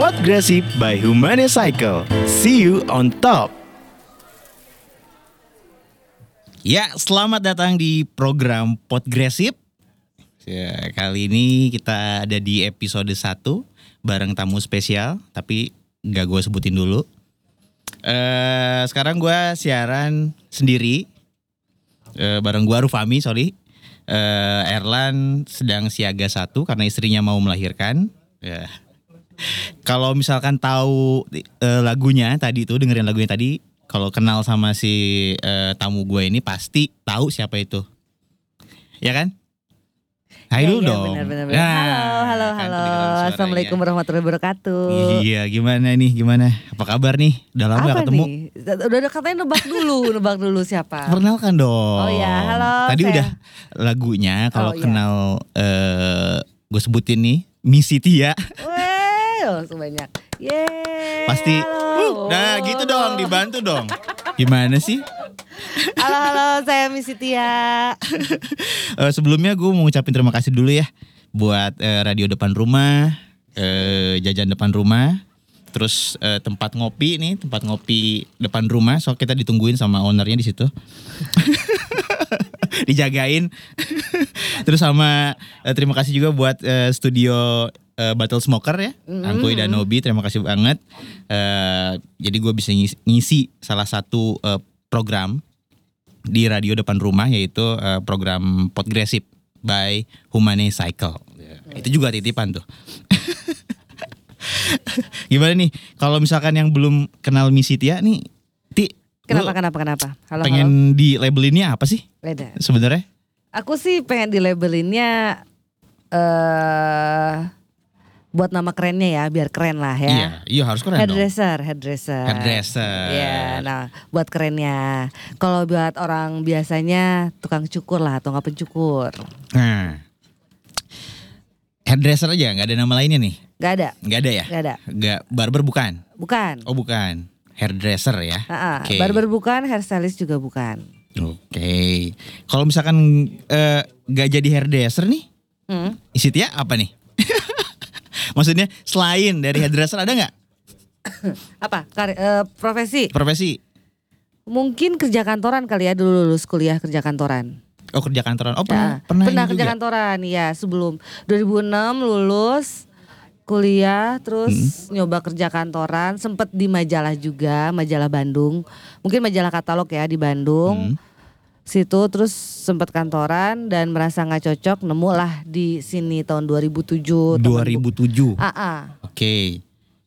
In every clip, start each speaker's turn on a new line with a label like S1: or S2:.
S1: Podgrasip by Humanicycle. See you on top. Ya, selamat datang di program Podgresip. Ya, kali ini kita ada di episode 1 bareng tamu spesial, tapi nggak gue sebutin dulu. eh sekarang gue siaran sendiri eh bareng gue Rufami, sorry. eh Erlan sedang siaga satu karena istrinya mau melahirkan. Ya. Kalau misalkan tahu eh, lagunya tadi tuh dengerin lagunya tadi, kalau kenal sama si eh, tamu gue ini pasti tahu siapa itu. Ya kan? Hai
S2: Iya,
S1: dulu
S2: iya,
S1: dong.
S2: benar, benar, benar.
S1: Nah,
S2: halo, halo,
S1: kan
S2: halo.
S1: kedengeran suaranya.
S2: Assalamualaikum warahmatullahi wabarakatuh.
S1: Iya, gimana nih? Gimana? Apa kabar nih? Udah lama
S2: Apa
S1: gak ketemu.
S2: nih? Udah udah katanya nebak dulu, nebak dulu siapa?
S1: Perkenalkan dong.
S2: Oh iya, halo,
S1: Tadi
S2: saya-
S1: udah lagunya kalau
S2: Oh, iya.
S1: kenal eh gue sebutin nih ya. Misi Tia
S2: Eh, Weh, oh, langsung banyak. Yeay.
S1: pasti.
S2: halo.
S1: Uh, nah, gitu dong, dibantu dong. Gimana sih?
S2: Halo, halo, saya Miss Tia.
S1: Eh, sebelumnya gue mau ngucapin terima kasih dulu ya buat eh, radio depan rumah, eh, jajan depan rumah, terus eh, tempat ngopi nih, tempat ngopi depan rumah. So kita ditungguin sama ownernya di situ. Dijagain. terus sama eh, terima kasih juga buat eh, studio eh, Battle Smoker ya,
S2: Mm.
S1: Angkuy dan Nobi, terima kasih banget. Eh, jadi gue bisa ngisi, ngisi salah satu eh, program di radio depan rumah yaitu eh, program Podgresip by Humane Cycle. Itu juga titipan tuh. Gimana nih kalau misalkan yang belum kenal Misi Tia nih, Ti
S2: Kenapa,
S1: lu
S2: kenapa, kenapa? Halo, halo.
S1: pengen di labelinnya apa sih
S2: Beda.
S1: sebenarnya?
S2: Aku sih pengen di labelinnya eh buat nama kerennya ya, biar keren lah ya.
S1: Iya, iya harus keren dong.
S2: Hairdresser, hairdresser.
S1: Hairdresser.
S2: Iya, nah buat kerennya. Kalau buat orang biasanya tukang cukur lah atau nggak pencukur.
S1: Nah. Hairdresser aja, nggak ada nama lainnya nih.
S2: Gak ada,
S1: Nggak ada ya?
S2: gak ada.
S1: Nggak barber bukan.
S2: Bukan.
S1: Oh, bukan. Hairdresser ya.
S2: Ah, ah.
S1: Oke.
S2: Barber bukan, hairstylist juga bukan.
S1: Oke. Kalau misalkan eh, nggak jadi hairdresser nih,
S2: Hmm.
S1: isi Tia apa nih? Maksudnya selain dari hairdresser ada nggak
S2: Apa? Kar- eh, profesi?
S1: profesi?
S2: Mungkin kerja kantoran kali ya dulu lulus kuliah kerja kantoran.
S1: Oh kerja kantoran. Oh
S2: Ya,
S1: pernah pernah, ini
S2: kerja
S1: juga.
S2: kantoran, ya sebelum 2006 lulus kuliah terus nyoba kerja kantoran sempet di majalah juga majalah Bandung mungkin majalah katalog ya di Bandung situ terus sempet kantoran dan merasa nggak cocok nemu lah di sini tahun 2007 temen bu-
S1: 2007. Oke.
S2: Ah, ah.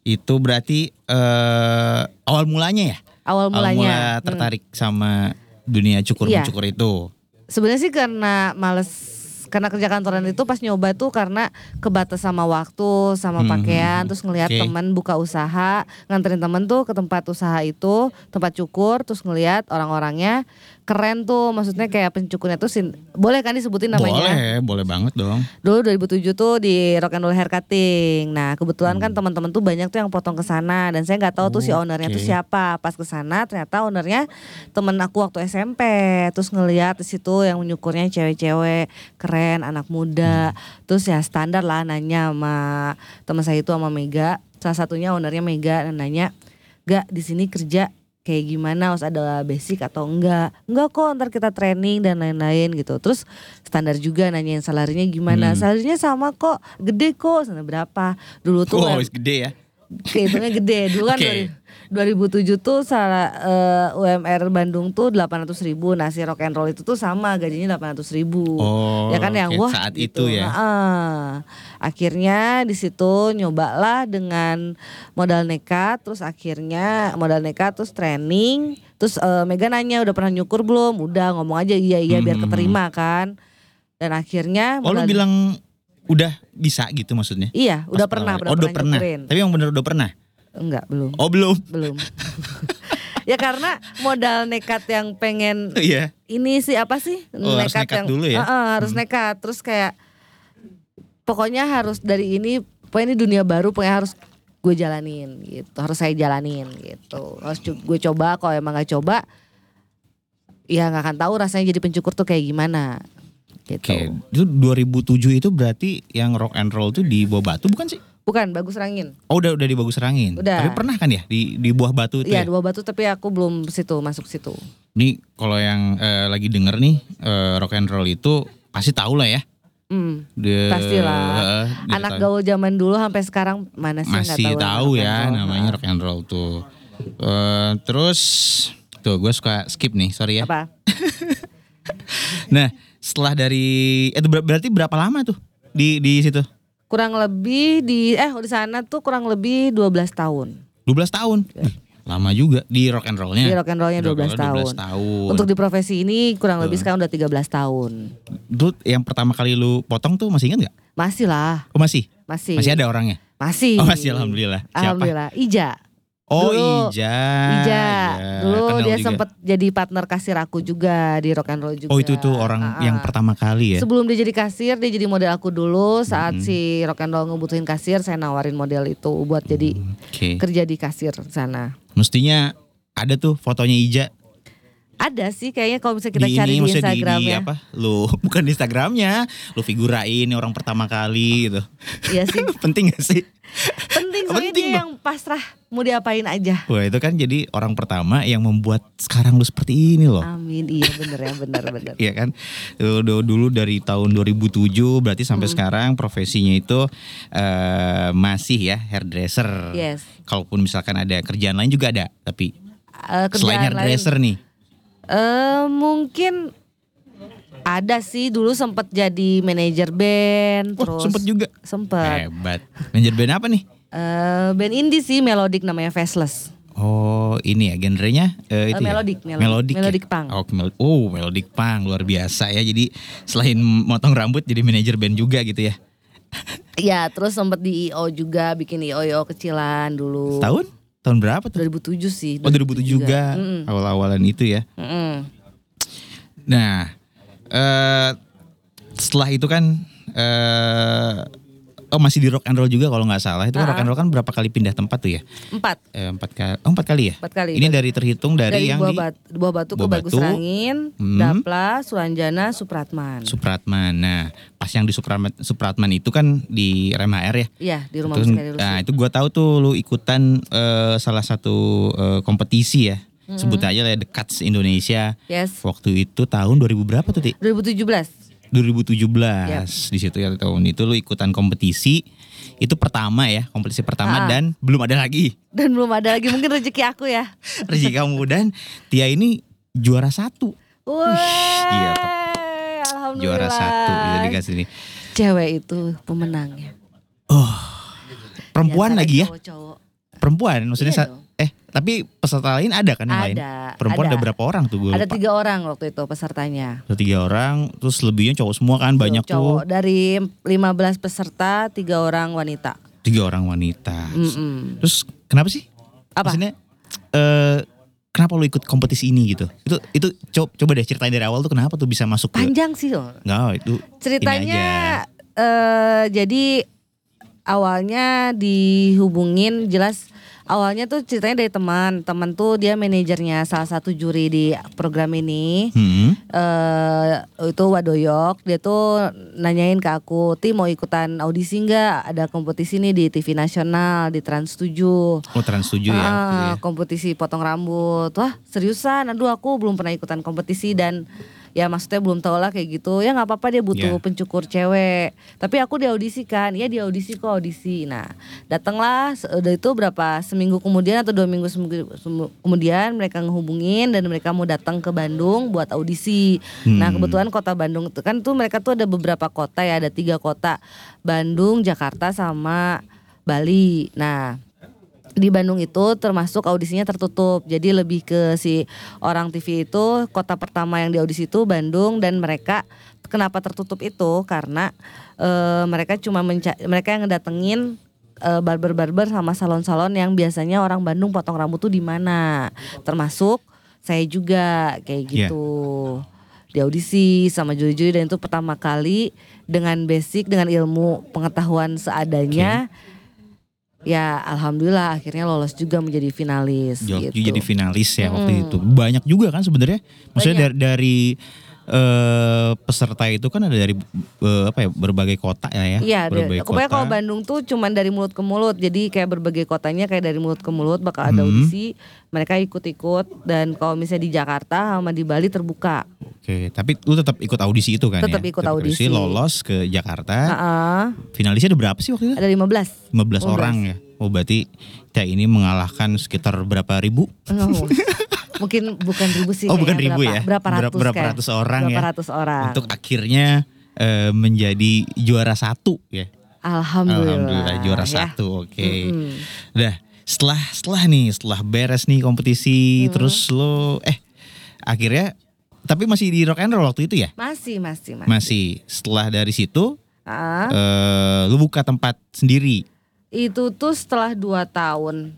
S1: Itu berarti eh awal mulanya ya? Awal
S2: awal
S1: mula
S2: mulanya Hmm.
S1: tertarik sama dunia cukur
S2: Iya.
S1: mencukur itu.
S2: sebenarnya sih karena males karena kerja kantoran itu pas nyoba tuh karena kebatas sama waktu sama
S1: Hmm,
S2: pakaian terus ngelihat
S1: oke.
S2: temen buka usaha nganterin temen tuh ke tempat usaha itu tempat cukur terus ngelihat orang-orangnya keren tuh maksudnya kayak pencukurnya tuh sin- boleh kan disebutin namanya
S1: Boleh, boleh banget dong.
S2: dulu 2007 tuh di Rock and Roll Hair Cutting nah kebetulan kan teman-teman tuh banyak tuh yang potong ke sana dan saya nggak tahu tuh si ownernya tuh
S1: Hmm. Oh, Oke.
S2: siapa pas ke sana ternyata ownernya temen aku waktu SMP terus ngeliat di situ yang menyukurnya cewek-cewek keren anak muda terus ya standar lah nanya sama teman saya itu sama Mega salah satunya ownernya Mega nanya gak di sini kerja kayak gimana harus ada basic atau enggak enggak kok ntar kita training dan lain-lain gitu terus standar juga nanyain salarinya gimana
S1: Hmm.
S2: salarinya sama kok gede kok sana berapa dulu tuh
S1: Wow,
S2: UM-
S1: gede ya.
S2: kehitungnya gede dulu kan
S1: Oke.
S2: 2000 2007 tuh salah eh, UMR Bandung tuh 800 ribu nah si rock and roll itu tuh sama gajinya 800 ribu
S1: Oh.
S2: ya kan yang
S1: oke,
S2: wah
S1: saat
S2: gitu.
S1: itu ya.
S2: Heeh. akhirnya di situ nyobalah dengan modal nekat terus akhirnya modal nekat terus training terus eh, Mega nanya udah pernah nyukur belum udah ngomong aja iya iya biar
S1: Hmm.
S2: keterima kan dan akhirnya
S1: Oh, lu
S2: modal-
S1: bilang udah bisa gitu maksudnya?
S2: iya udah
S1: Pas
S2: pernah
S1: awal. Oh, udah pernah.
S2: nyukurin.
S1: Tapi yang bener udah pernah.
S2: enggak belum
S1: Oh, belum.
S2: belum ya karena modal nekat yang pengen
S1: Iya.
S2: ini sih apa sih
S1: Oh, harus nekat
S2: yang
S1: dulu ya?
S2: Heeh, harus nekat terus kayak pokoknya harus dari ini pokoknya ini dunia baru pokoknya harus gue jalanin gitu harus saya jalanin gitu harus co- gue coba kalau emang nggak coba ya nggak akan tahu rasanya jadi pencukur tuh kayak gimana gitu
S1: Oh. Oke, itu 2007 itu berarti yang rock and roll tuh di Bawah Batu bukan sih?
S2: Bukan Bagus Rangin.
S1: Oh udah udah di Bagus Rangin.
S2: Udah.
S1: Tapi pernah kan ya di di buah batu itu ya.
S2: Iya dua batu tapi aku belum situ masuk situ.
S1: Nih kalau yang eh, lagi denger nih eh, rock and roll itu pasti tahu lah ya.
S2: Hmm.
S1: De,
S2: Pastilah.
S1: Eh, Heeh, dia
S2: Anak
S1: tahu.
S2: gaul zaman dulu sampai sekarang mana sih nggak
S1: masih tahu
S2: anak
S1: ya
S2: gaul.
S1: namanya rock and roll tuh. Eh, terus tuh gue suka skip nih sorry ya.
S2: Apa?
S1: Nah setelah dari eh, itu ber- berarti berapa lama tuh di di situ?
S2: Kurang lebih di eh di sana tuh kurang lebih 12 tahun.
S1: 12 tahun. Ih, Lama juga di rock and rollnya.
S2: Di rock and rollnya
S1: Di Ya. rock and
S2: 12
S1: roll-nya 12
S2: tahun.
S1: tahun.
S2: Untuk di profesi ini kurang lebih sekarang udah 13 tahun.
S1: Itu yang pertama kali lu potong tuh masih ingat nggak?
S2: Masih lah,
S1: Oh masih?
S2: masih.
S1: Masih ada orangnya?
S2: Masih.
S1: Oh masih alhamdulillah. Siapa?
S2: Iya. Alhamdulillah, Ija.
S1: Oh
S2: Dulu.
S1: Ija.
S2: Ija.
S1: Iya,
S2: Dulu
S1: kenal
S2: dia
S1: juga.
S2: sempet jadi partner kasir aku juga di rock and roll juga.
S1: Oh itu tuh orang
S2: Ah,
S1: yang
S2: ah.
S1: pertama kali ya.
S2: Sebelum dia jadi kasir, dia jadi model aku dulu. Saat
S1: Mm-hmm.
S2: si rock and roll ngebutuhin kasir, saya nawarin model itu buat jadi
S1: Oke.
S2: kerja di kasir sana.
S1: Mestinya ada tuh fotonya Ija
S2: Ada sih kayaknya kalau misalnya kita
S1: di
S2: cari
S1: ini
S2: di
S1: maksudnya di,
S2: Instagram
S1: di
S2: ya.
S1: apa? Lu bukan di Instagramnya, lu figurain orang pertama kali gitu.
S2: Iya sih.
S1: Penting gak sih?
S2: Penting soalnya
S1: Penting
S2: dia
S1: dong.
S2: yang pasrah mau diapain aja.
S1: Wah itu kan jadi orang pertama yang membuat sekarang lu seperti ini loh.
S2: Amin. Iya bener ya bener bener.
S1: Oh. Iya kan dulu, dulu dari tahun 2007 berarti sampai
S2: Hmm.
S1: sekarang profesinya itu eh, masih ya hairdresser.
S2: Yes.
S1: Kalaupun misalkan ada kerjaan lain juga ada tapi
S2: Eh,
S1: selain
S2: kerjaan lain
S1: hairdresser nih.
S2: Eh mungkin ada sih dulu sempet jadi manajer band
S1: Wah, Oh,
S2: terus
S1: sempet juga. Eh.
S2: sempet
S1: Hebat. Manajer band apa nih?
S2: Eh, band indie sih melodic namanya Faceless
S1: Oh ini ya genrenya eh,
S2: Eh,
S1: itu ya?
S2: melodic, melo-
S1: melodic, ya?
S2: melodic punk.
S1: Oh, mel- oh melodic punk luar biasa ya. Jadi selain motong rambut jadi manajer band juga gitu ya.
S2: ya terus sempet di IO juga bikin IO IO kecilan dulu
S1: Tahun? Tahun berapa tuh?
S2: 2007 sih
S1: Oh 2007 juga
S2: Mm-mm,
S1: awal-awalan itu ya.
S2: mm-mm.
S1: Nah, eh setelah itu kan eh oh masih di rock and roll juga kalau nggak salah. Itu kan rock and roll kan berapa kali pindah tempat tuh ya?
S2: empat
S1: Eh, empat kali. Oh, empat kali ya?
S2: Empat kali.
S1: Ini dari terhitung dari,
S2: dari
S1: yang
S2: buah,
S1: di
S2: Bat- buah batu ke
S1: Buah
S2: bagus
S1: Batu.
S2: rangin
S1: Hmm.
S2: dapla suranjana supratman
S1: Supratman. Nah, pas yang di Supratman, Supratman itu kan di Rem HR ya.
S2: Iya di rumah
S1: Terus,
S2: Musik Heri Lusi.
S1: nah, itu gua tahu tuh lu ikutan eh, salah satu eh, kompetisi ya. Sebut aja lah ya, The Cuts Indonesia.
S2: yes
S1: Waktu itu tahun 2000 berapa tuh, Ti?
S2: 2017
S1: 2017
S2: Yap.
S1: di situ ya tahun itu lu ikutan kompetisi itu pertama ya kompetisi pertama
S2: Ah.
S1: dan belum ada lagi
S2: dan belum ada lagi mungkin rezeki aku ya
S1: rezeki kamu dan Tia ini juara satu gila, iya, Pak.
S2: Wih, alhamdulillah.
S1: juara satu iya, bisa dikasih ini
S2: Cewek itu pemenangnya.
S1: perempuan
S2: Biasanya
S1: lagi ya
S2: Cowok-cowok
S1: perempuan maksudnya
S2: Iya
S1: sa-
S2: dong.
S1: eh tapi peserta lain ada kan yang lain
S2: Ada,
S1: perempuan ada.
S2: ada.
S1: berapa orang tuh gue
S2: ada
S1: lupa
S2: tiga orang waktu itu pesertanya.
S1: Ada tiga orang terus lebihnya cowok semua kan banyak
S2: Hmm, cowok
S1: tuh
S2: dari 15 peserta tiga orang wanita.
S1: tiga orang wanita
S2: Mm-mm.
S1: terus kenapa sih
S2: Hmm. Apa?
S1: maksudnya eh, kenapa lu ikut kompetisi ini gitu itu itu co- coba deh ceritain dari awal tuh kenapa tuh bisa masuk ke
S2: Panjang sih loh.
S1: Enggak, itu ini aja.
S2: Ceritanya eh jadi awalnya dihubungin jelas awalnya tuh ceritanya dari teman. Teman tuh dia manajernya salah satu juri di program ini.
S1: Hmm.
S2: eh itu Wadoyok dia tuh nanyain ke aku, "Ti mau ikutan audisi nggak? Ada kompetisi nih di TV nasional di Trans 7."
S1: Oh trans tujuh ya.
S2: Ah,
S1: waktu itu ya.
S2: kompetisi potong rambut. Wah, seriusan. Aduh, aku belum pernah ikutan kompetisi dan ya maksudnya belum tau lah kayak gitu. Ya nggak apa-apa dia butuh
S1: Iya.
S2: pencukur cewek. Tapi aku diaudisikan. Iya, dia audisi kok audisi. Nah, datanglah se- udah itu berapa seminggu kemudian atau dua minggu seminggu- semu- kemudian mereka ngehubungin dan mereka mau datang ke Bandung buat audisi. Nah,
S1: Hmm.
S2: kebetulan kota Bandung tuh kan tuh mereka tuh ada beberapa kota ya, ada tiga kota. Bandung, Jakarta sama Bali. Nah, di Bandung itu termasuk audisinya tertutup. Jadi lebih ke si orang TV itu kota pertama yang di audisi itu Bandung dan mereka kenapa tertutup itu karena eh, mereka cuma menca- mereka yang ngedatengin eh, barber-barber sama salon-salon yang biasanya orang Bandung potong rambut tuh di mana. Termasuk saya juga kayak
S1: Iya.
S2: gitu. Di audisi sama juri-juri dan itu pertama kali dengan basic dengan ilmu pengetahuan seadanya ya alhamdulillah akhirnya lolos juga menjadi finalis
S1: Jawab
S2: gitu.
S1: jadi finalis ya waktu itu. Banyak juga kan sebenarnya. Maksudnya dari, dari eh, peserta itu kan ada dari eh, apa ya berbagai kota ya ya.
S2: Iya, ada-
S1: berbagai
S2: pokoknya
S1: kota.
S2: kalau Bandung tuh cuman dari mulut ke mulut. Jadi kayak berbagai kotanya kayak dari mulut ke mulut bakal ada
S1: Hmm.
S2: audisi, mereka ikut-ikut dan kalau misalnya di Jakarta sama di Bali terbuka.
S1: Oke, tapi lu tetap ikut audisi itu kan ya?
S2: Tetap ikut audisi. Nah.
S1: lolos ke Jakarta.
S2: Heeh.
S1: Finalisnya ada berapa sih waktu itu?
S2: Ada 15.
S1: 15, orang ya. Oh, berarti Teh ini mengalahkan sekitar berapa ribu?
S2: Oh, Mungkin bukan ribu sih.
S1: Oh, bukan
S2: kayaknya.
S1: ribu
S2: berapa,
S1: ya.
S2: Berapa
S1: Berapa-
S2: ratus
S1: berapa
S2: kayak.
S1: ratus orang
S2: berapa
S1: ya.
S2: ratus orang.
S1: Untuk akhirnya eh, menjadi juara satu ya.
S2: Alhamdulillah.
S1: juara
S2: ya.
S1: satu. Oke.
S2: Mm-mm.
S1: Dah, setelah setelah nih, setelah beres nih
S2: Mm.
S1: kompetisi terus lo eh akhirnya tapi masih di rock and roll waktu itu ya?
S2: Masih, masih, masih.
S1: Masih. Setelah dari situ
S2: Ah,
S1: eh, lu buka tempat sendiri.
S2: itu tuh setelah 2 tahun.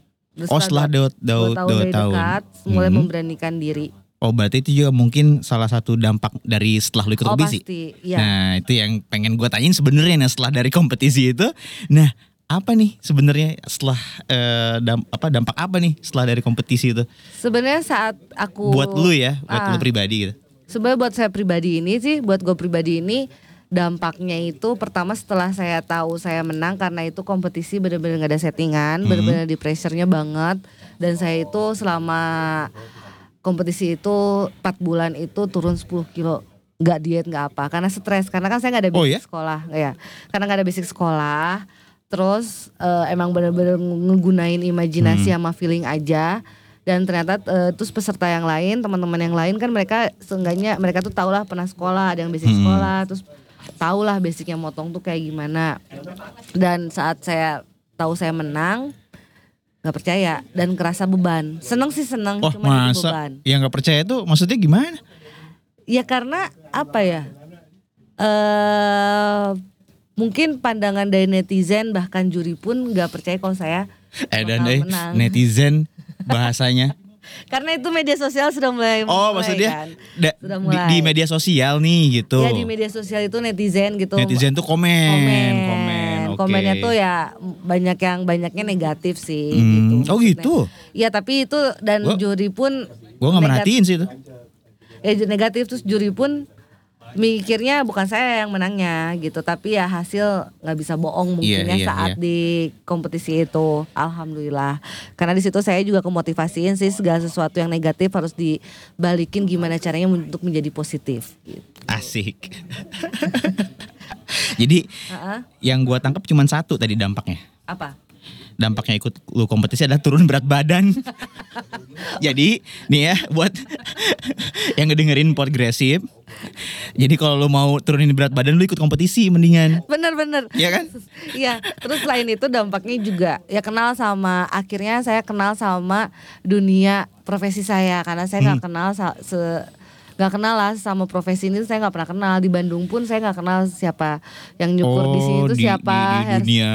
S1: Oh, setelah
S2: dua,
S1: dua,
S2: dua
S1: dua,
S2: tahun
S1: dua
S2: dari
S1: tahun.
S2: dekat, mulai
S1: Mhm.
S2: memberanikan diri.
S1: Oh, berarti itu juga mungkin salah satu dampak dari setelah lu ikut
S2: oh
S1: audisi.
S2: pasti, ya.
S1: Nah, itu yang pengen gue tanyain sebenarnya nah, setelah dari kompetisi itu. Nah, apa nih sebenarnya setelah eh, dam- apa dampak apa nih setelah dari kompetisi itu
S2: Sebenarnya saat aku
S1: buat lu ya, buat
S2: Ah.
S1: lu pribadi gitu.
S2: Sebenarnya buat saya pribadi ini sih, buat gue pribadi ini dampaknya itu pertama setelah saya tahu saya menang karena itu kompetisi benar-benar gak ada
S1: Hmm.
S2: settingan, benar-benar di pressure-nya banget dan saya itu selama kompetisi itu 4 bulan itu turun 10 kilo nggak diet nggak apa karena stres karena kan saya nggak ada
S1: Oh, ya?
S2: basic sekolah ya karena nggak ada basic sekolah terus eh, emang benar-benar ngegunain imajinasi
S1: Hmm.
S2: sama feeling aja dan ternyata eh, terus peserta yang lain teman-teman yang lain kan mereka seenggaknya mereka tuh tau lah pernah sekolah ada yang
S1: Hmm.
S2: basic sekolah terus tau lah basicnya motong tuh kayak gimana dan saat saya tahu saya menang nggak percaya dan kerasa beban seneng sih seneng
S1: Wah,
S2: cuma itu
S1: Oh, masa
S2: beban
S1: yang nggak percaya itu maksudnya gimana?
S2: ya karena apa ya eh mungkin pandangan dari netizen bahkan juri pun nggak percaya kalau saya
S1: Eh dan
S2: bakal
S1: eh,
S2: menang.
S1: netizen bahasanya.
S2: karena itu media sosial sudah mulai
S1: Oh,
S2: mulai
S1: maksudnya
S2: kan.
S1: da-
S2: Sudah
S1: di,
S2: mulai.
S1: di media sosial nih gitu.
S2: ya di media sosial itu netizen gitu
S1: netizen tuh komen,
S2: komen
S1: komen, oke.
S2: komennya tuh ya banyak yang banyaknya negatif sih
S1: Hmm,
S2: gitu
S1: oh
S2: maksudnya.
S1: gitu?
S2: ya tapi itu dan
S1: Gua-
S2: juri pun
S1: Gue nggak
S2: negatif-
S1: merhatiin sih itu.
S2: ya ju- negatif terus juri pun mikirnya bukan saya yang menangnya gitu tapi ya hasil nggak bisa
S1: Iya,
S2: bohong mungkinnya
S1: iya,
S2: saat
S1: iya.
S2: di kompetisi itu alhamdulillah karena di situ saya juga kemotivasiin sih segala sesuatu yang negatif harus dibalikin gimana caranya men- untuk menjadi positif gitu.
S1: Asik. Jadi
S2: Ha-ha.
S1: yang gua tangkap cuma satu tadi dampaknya.
S2: apa
S1: Dampaknya ikut lu kompetisi adalah turun berat badan. jadi nih ya buat yang ngedengerin progresif. Jadi kalau lu mau turunin berat badan lu ikut kompetisi mendingan.
S2: bener-bener
S1: Iya kan?
S2: Iya, terus selain itu dampaknya juga ya kenal sama akhirnya saya kenal sama dunia profesi saya karena saya
S1: Hmm.
S2: nggak kenal sa- se- nggak kenal lah sama profesi ini saya nggak pernah kenal di Bandung pun saya nggak kenal siapa yang nyukur di sini itu
S1: Oh, di-
S2: siapa
S1: di, di
S2: hair-
S1: dunia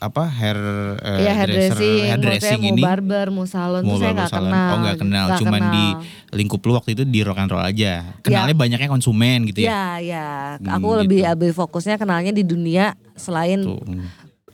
S1: apa hair eh,
S2: ya
S1: dresser- hair
S2: hairdressing, maksudnya
S1: dressing
S2: mau
S1: ini.
S2: barber, mau salon tuh
S1: Mau
S2: saya
S1: barber
S2: nggak
S1: salon.
S2: kenal.
S1: Oh nggak kenal,
S2: Nggak
S1: cuman di gitu
S2: kenal. Iya.
S1: lingkup lu waktu itu di rock and roll aja. Kenalnya banyaknya konsumen gitu ya.
S2: Ya, ya.
S1: Hmm,
S2: Aku
S1: gitu.
S2: lebih lebih fokusnya kenalnya di dunia selain
S1: Tuh.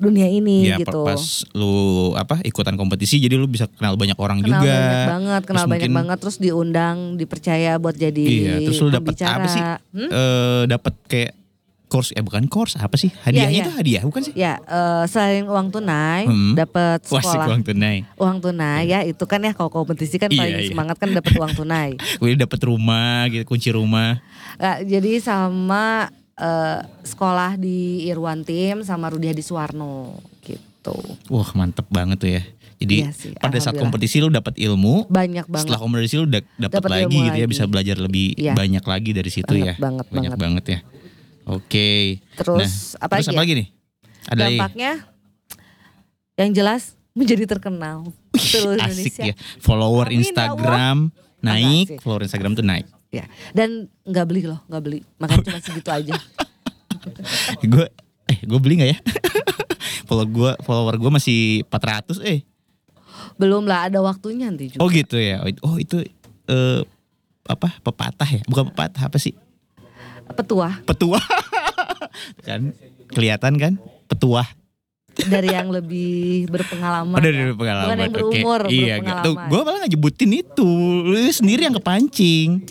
S2: dunia ini
S1: Iya,
S2: gitu.
S1: pas lu apa ikutan kompetisi jadi lu bisa kenal banyak orang
S2: kenal
S1: juga.
S2: banyak banget, kenal
S1: Terus
S2: banyak
S1: mungkin-
S2: banget, terus diundang, dipercaya buat jadi
S1: Iya, terus lu dapat
S2: pembicara.
S1: apa sih?
S2: Hmm?
S1: Eh, dapat kayak course eh bukan course apa sih? Hadiahnya
S2: Iya, iya.
S1: itu hadiah bukan sih?
S2: Ya, eh, selain uang tunai,
S1: Hmm.
S2: dapat
S1: Wah, sih
S2: sekolah.
S1: uang tunai.
S2: Uang tunai ya itu kan ya kalau kompetisi kan
S1: Iya,
S2: paling
S1: iya.
S2: semangat kan dapat uang tunai.
S1: Gue dapat rumah gitu, kunci rumah.
S2: Nah, jadi sama eh, sekolah di Irwan Tim sama Rudi Hadi Suwarno gitu.
S1: Wah, mantep banget tuh ya. Jadi
S2: Iya sih,
S1: pada saat
S2: alhamdulillah.
S1: kompetisi lu dapat ilmu,
S2: Banyak banget.
S1: setelah kompetisi lu da- dapat
S2: Dapat
S1: lagi
S2: ilmu
S1: gitu ya,
S2: lagi.
S1: bisa belajar lebih
S2: Iya.
S1: banyak lagi dari situ
S2: Banget,
S1: ya.
S2: banget,
S1: banyak banget, ya. Oke.
S2: Terus
S1: Nah,
S2: apa
S1: terus
S2: lagi
S1: apa
S2: ya?
S1: lagi nih? Ada lagi?
S2: Dampaknya yang jelas menjadi terkenal seluruh
S1: asik
S2: Indonesia.
S1: ya follower
S2: Amin, ya
S1: Instagram naik
S2: Makasih.
S1: follower Instagram tuh naik
S2: Ya, dan nggak beli loh, nggak beli. Makanya cuma segitu aja.
S1: gue eh gue beli nggak ya follow gue follower gue masih 400 eh
S2: Belum lah, ada waktunya nanti juga.
S1: oh gitu ya oh itu eh, apa pepatah ya bukan pepatah apa sih
S2: Petua
S1: petua kan kelihatan kan petua
S2: dari yang lebih berpengalaman.
S1: ada
S2: ya.
S1: dari pengalaman
S2: Bukan yang
S1: oke.
S2: berumur,
S1: iya
S2: berpengalaman.
S1: gue malah nggak nyebutin itu lu sendiri yang kepancing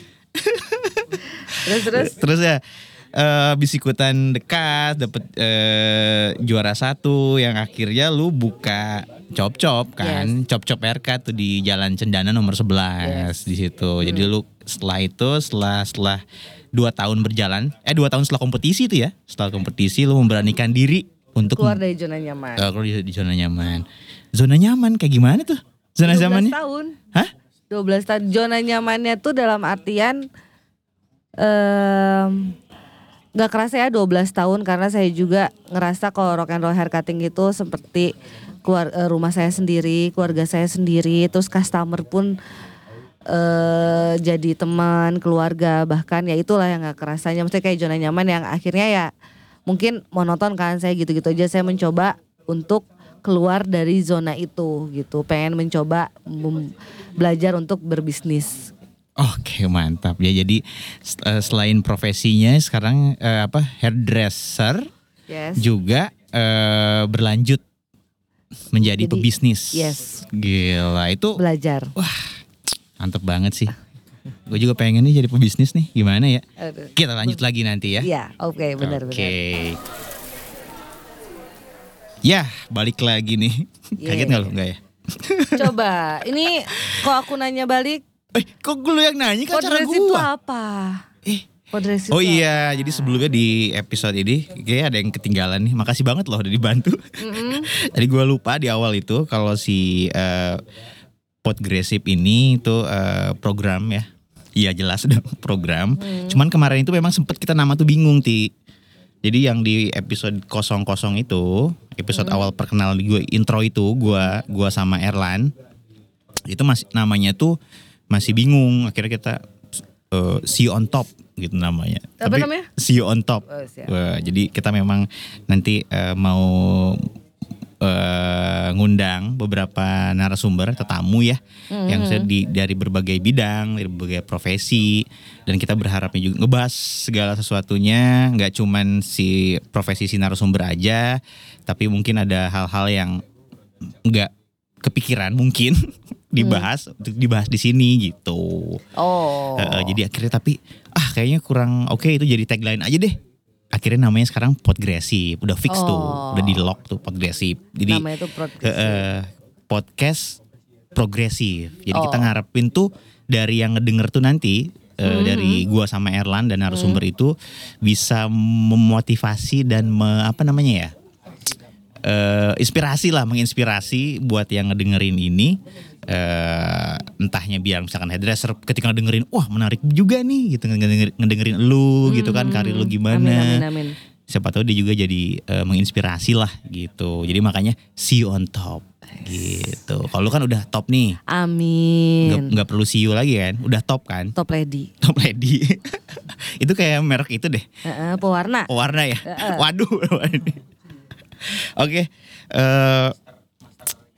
S2: Terus terus
S1: Terus ya eh bisikutan dekat dapat eh, juara satu yang akhirnya lu buka cop-cop kan. Cop-cop RK tuh di Jalan Cendana nomor 11 di situ. Jadi
S2: Hmm.
S1: lu setelah itu setelah setelah dua tahun berjalan, eh dua tahun setelah kompetisi itu ya. Setelah kompetisi lu memberanikan diri untuk
S2: keluar dari zona nyaman.
S1: eh, keluar di, di zona nyaman. Zona nyaman kayak gimana tuh? Zona
S2: 12
S1: zamannya?
S2: tahun.
S1: Hah?
S2: 12 tahun zona nyamannya tuh dalam artian em nggak kerasa ya 12 tahun karena saya juga ngerasa kalau rock and roll hair cutting itu seperti keluar eh, rumah saya sendiri, keluarga saya sendiri, terus customer pun eh jadi teman, keluarga bahkan ya itulah yang nggak kerasanya maksudnya kayak zona nyaman yang akhirnya ya mungkin monoton kan saya gitu-gitu aja saya mencoba untuk keluar dari zona itu gitu pengen mencoba mem- belajar untuk berbisnis
S1: Oke mantap ya jadi s- eh, selain profesinya sekarang eh, apa hairdresser
S2: yes
S1: juga eh, berlanjut menjadi
S2: Jadi,
S1: pebisnis.
S2: yes.
S1: Gila itu
S2: belajar
S1: mantep banget sih. Gue juga pengen nih jadi pebisnis nih gimana ya?
S2: Aduh.
S1: Kita lanjut lagi nanti ya.
S2: Iya, oke benar-benar.
S1: Oke. Ya balik lagi nih.
S2: Iya.
S1: Kaget nggak lo nggak ya?
S2: Coba, ini kok aku nanya balik,
S1: Eh kok gue lu yang nanya kan cara
S2: podres itu
S1: gue?
S2: apa?
S1: Eh
S2: Podres itu
S1: Oh iya, jadi sebelumnya di episode ini kayak ada yang ketinggalan nih. Makasih banget loh udah dibantu. Tadi gua lupa di awal itu kalau si eh, Podgresif ini itu eh, program ya. Iya jelas udah program. Cuman kemarin itu memang sempet kita nama tuh bingung ti. Jadi yang di episode 00 itu, episode awal perkenalan gue intro itu gua gua sama Erlan itu masih namanya tuh masih bingung akhirnya kita eh, see you on top gitu namanya
S2: Apa namanya?
S1: see you on top
S2: Oh, siap.
S1: Wah, jadi kita memang nanti eh, mau eh, ngundang beberapa narasumber tetamu ya
S2: Hmm.
S1: yang sudah di- dari berbagai bidang dari berbagai profesi dan kita berharapnya juga ngebahas segala sesuatunya nggak cuman si profesi si narasumber aja tapi mungkin ada hal-hal yang nggak kepikiran mungkin dibahas
S2: Hmm.
S1: untuk dibahas di sini gitu.
S2: Oh.
S1: Eh, eh, jadi akhirnya tapi ah kayaknya kurang oke itu jadi tagline aja deh. Akhirnya namanya sekarang Podgresif, udah fix tuh,
S2: Oh.
S1: udah di lock tuh Podgresif. Jadi
S2: namanya itu
S1: eh,
S2: progres.
S1: eh, podcast progresif. Jadi kita
S2: Oh.
S1: ngarepin tuh dari yang ngedenger tuh nanti eh,
S2: Hmm.
S1: dari gua sama Erlan dan narasumber itu bisa memotivasi dan me- apa namanya ya? eh inspirasi lah menginspirasi buat yang ngedengerin ini eh entahnya biar misalkan hairdresser ketika ngedengerin wah menarik juga nih gitu ngedenger- ngedengerin lu gitu kan karir lu gimana
S2: Hmm. Amin amin amin.
S1: siapa tahu dia juga jadi eh, menginspirasi lah gitu. Jadi makanya see you on top gitu. Kalau lu kan udah top nih,
S2: Amin.
S1: nggak nggak perlu see you lagi kan, udah top kan,
S2: Top lady.
S1: top lady. itu kayak merek itu deh,
S2: Eh, eh, pewarna.
S1: warna ya. Waduh. Oke, eh,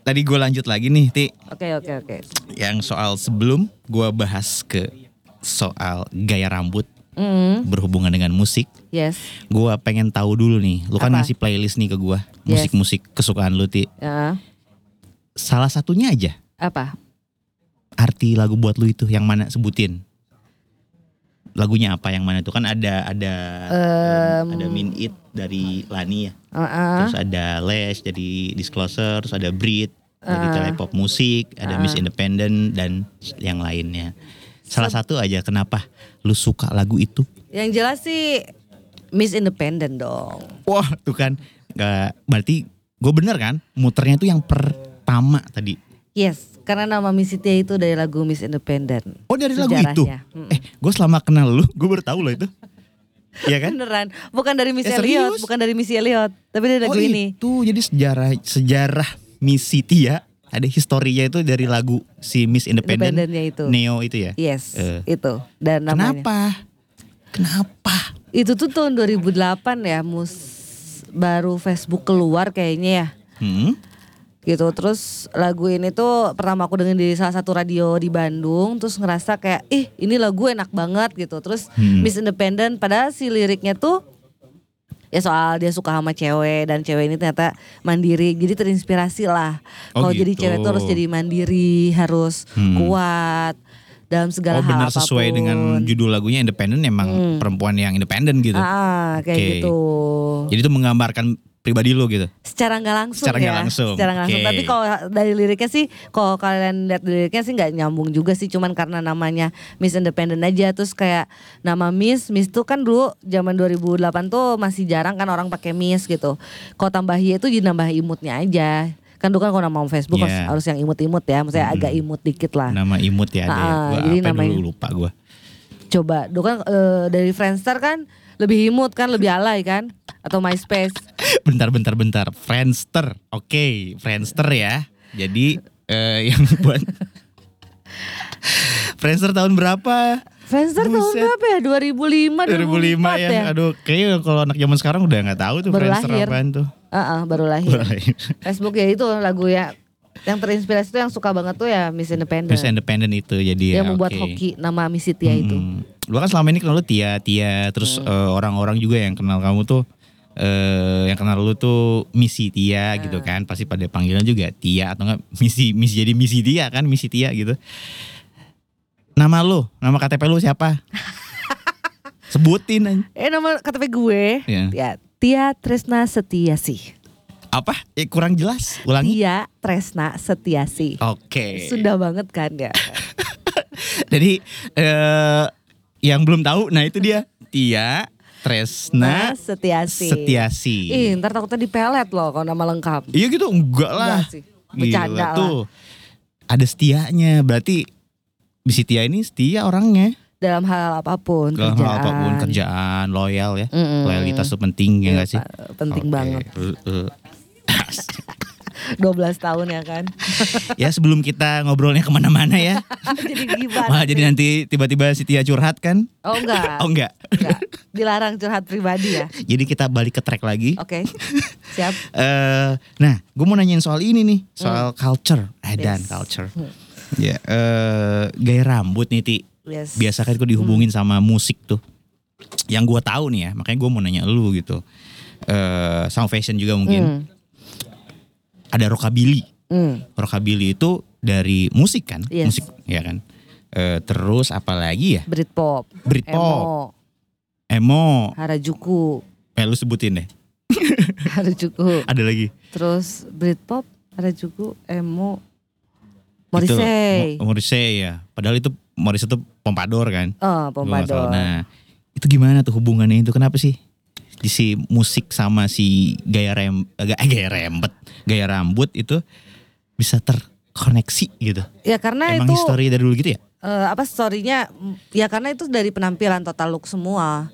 S1: tadi gue lanjut lagi nih, ti
S2: Oke oke oke.
S1: yang soal sebelum gue bahas ke soal gaya rambut
S2: Mm,
S1: berhubungan dengan musik.
S2: yes.
S1: Gua pengen tahu dulu nih. Lu kan
S2: Apa?
S1: ngasih playlist nih ke gua
S2: Yes.
S1: musik-musik kesukaan lu ti.
S2: Eh,
S1: Salah satunya aja
S2: apa?
S1: arti lagu buat lu itu yang mana sebutin. Lagunya apa yang mana tuh kan ada ada um, ada Min It dari Lani ya.
S2: Eh, eh.
S1: Terus ada Lash dari Disclosure, terus ada Breed dari Telepop Musik, ada Miss Independent dan yang lainnya. Salah satu aja kenapa lu suka lagu itu?
S2: Yang jelas sih Miss Independent dong.
S1: Wah, tuh kan. Nggak, berarti gue bener kan? Muternya tuh yang pertama tadi.
S2: Yes, karena nama Miss Cynthia itu dari lagu Miss Independent.
S1: Oh dari lagu
S2: Sejarahnya.
S1: itu?
S2: Mm.
S1: Eh, gue selama kenal lu, gue baru tahu loh itu. Iya kan?
S2: Beneran, bukan dari Miss
S1: Eh,
S2: Elliot,
S1: serius?
S2: bukan dari Miss Elliot, tapi dari
S1: oh,
S2: lagu ini.
S1: itu jadi sejarah sejarah Miss City ya. Ada historinya itu dari lagu si Miss Independent,
S2: Independentnya itu.
S1: Neo itu ya.
S2: Yes,
S1: Eh.
S2: itu. Dan namanya.
S1: Kenapa? Kenapa?
S2: Itu tuh tahun 2008 ya, mus baru Facebook keluar kayaknya ya.
S1: Hmm?
S2: gitu terus lagu ini tuh pertama aku dengerin di salah satu radio di Bandung terus ngerasa kayak ih ini lagu enak banget gitu terus
S1: Hmm.
S2: Miss Independent padahal si liriknya tuh ya soal dia suka sama cewek dan cewek ini ternyata mandiri jadi terinspirasi lah
S1: Oh,
S2: kalau jadi
S1: gitu. Hmm.
S2: cewek tuh harus jadi mandiri harus kuat dalam
S1: oh
S2: segala hal
S1: benar
S2: apapun.
S1: sesuai dengan judul lagunya independen emang perempuan yang independen gitu.
S2: Hmm. Ah, kayak
S1: Oke.
S2: gitu.
S1: Jadi itu menggambarkan pribadi lo gitu.
S2: Secara nggak langsung
S1: Secara nggak
S2: ya.
S1: langsung,
S2: Secara nggak langsung.
S1: oke.
S2: Tapi kalau dari liriknya sih, kalau kalian lihat liriknya sih nggak nyambung juga sih. Cuman karena namanya Miss Independent aja. Terus kayak nama Miss, Miss tuh kan dulu zaman 2008 tuh masih jarang kan orang pakai Miss gitu. Kalau tambah Y itu jadi nambah imutnya aja. Kan dulu kan kalau nama Facebook harus-
S1: Iya.
S2: harus yang imut-imut ya. Maksudnya agak imut dikit lah.
S1: Nama imut ya ada. ya.
S2: Ah,
S1: Gua
S2: jadi
S1: apa
S2: namanya-
S1: dulu lupa gue.
S2: Coba, dulu kan eh, dari Friendster kan lebih imut kan, lebih alay kan. Atau MySpace.
S1: bentar bentar bentar. Friendster. Oke, Friendster ya. Jadi eh, yang buat Friendster tahun berapa?
S2: Friendster tahun
S1: Buset.
S2: berapa ya? 2005, 2004,
S1: 2005 ya.
S2: ya?
S1: Aduh, kayaknya kalau anak zaman sekarang udah nggak tahu tuh
S2: Baru
S1: Friendster
S2: lahir. Iya.
S1: apaan tuh.
S2: Heeh, baru lahir. Facebook ya itu lagu ya yang terinspirasi tuh yang suka banget tuh ya Miss Independent.
S1: Terus independen itu jadi ya,
S2: yang membuat
S1: oke.
S2: hoki nama Miss Cynthia ya itu.
S1: Hmm. Lu kan selama ini kenal lu Tia, Tia, terus eh, orang-orang juga yang kenal kamu tuh eh yang kenal lu tuh misi Tia gitu kan, pasti pada panggilan juga Tia atau enggak misi misi jadi misi Tia kan, misi Tia gitu. Nama lu, nama KTP lu siapa? Sebutin aja.
S2: Eh nama KTP gue
S1: Ya.
S2: ya Tia Tresna Setiasi.
S1: Apa? Eh, kurang jelas. Ulangi.
S2: Tia Tresna Setiasi.
S1: Oke.
S2: Sunda banget kan ya.
S1: Jadi eh yang belum tahu, nah itu dia Tia
S2: Nah,
S1: Tresna
S2: Setiasi.
S1: Setiasi.
S2: Ih, ntar takutnya dipelet loh kalau nama lengkap.
S1: Iya gitu enggak lah.
S2: Enggak sih. Bercanda
S1: Gila,
S2: lah.
S1: tuh. Ada setianya. Berarti Bisi Tia ini setia orangnya.
S2: Dalam hal apapun,
S1: Dalam
S2: kerjaan.
S1: hal apapun kerjaan, loyal ya.
S2: Mm-mm.
S1: Loyalitas tuh penting ya
S2: Iya,
S1: enggak sih?
S2: Pak, penting
S1: Oke.
S2: banget.
S1: Eh, eh.
S2: 12 tahun ya kan.
S1: ya sebelum kita ngobrolnya kemana-mana ya.
S2: jadi gimana?
S1: Malah jadi nanti tiba-tiba si Tia curhat kan?
S2: Oh enggak.
S1: Oh enggak.
S2: Enggak. Dilarang curhat pribadi ya.
S1: Jadi kita balik ke track lagi.
S2: Oke. Siap.
S1: eh nah, gue mau nanyain soal ini nih, soal culture, edan
S2: Hmm. Yes. Hmm.
S1: culture. Ya, eh gaya rambut nih Ti.
S2: Yes.
S1: Biasa kan gue dihubungin
S2: Hmm.
S1: sama musik tuh. Yang gue tahu nih ya, makanya gue mau nanya lu gitu. eh sama fashion juga mungkin.
S2: Hmm.
S1: Ada rockabilly.
S2: Hmm.
S1: Rockabilly itu dari musik kan?
S2: Yes.
S1: Musik, ya kan? Eh terus apalagi ya?
S2: Britpop.
S1: Britpop,
S2: Emo,
S1: emo,
S2: Harajuku,
S1: eh lu sebutin deh.
S2: Harajuku.
S1: Ada lagi. Gitu.
S2: Terus Britpop, Harajuku, Emo,
S1: Itu,
S2: Morrissey.
S1: Mo- Morrissey ya. Padahal itu Morrissey tuh pompadour kan?
S2: Oh,
S1: Kalau nggak salah.
S2: Pompadour.
S1: Nah, itu gimana tuh hubungannya itu? Kenapa sih di si musik sama si gaya rem eh, ga- gaya rembet, gaya rambut itu bisa terkoneksi gitu?
S2: Ya karena
S1: Emang
S2: itu
S1: histori dari dulu gitu ya?
S2: eh, apa storynya mm, ya karena itu dari penampilan total look semua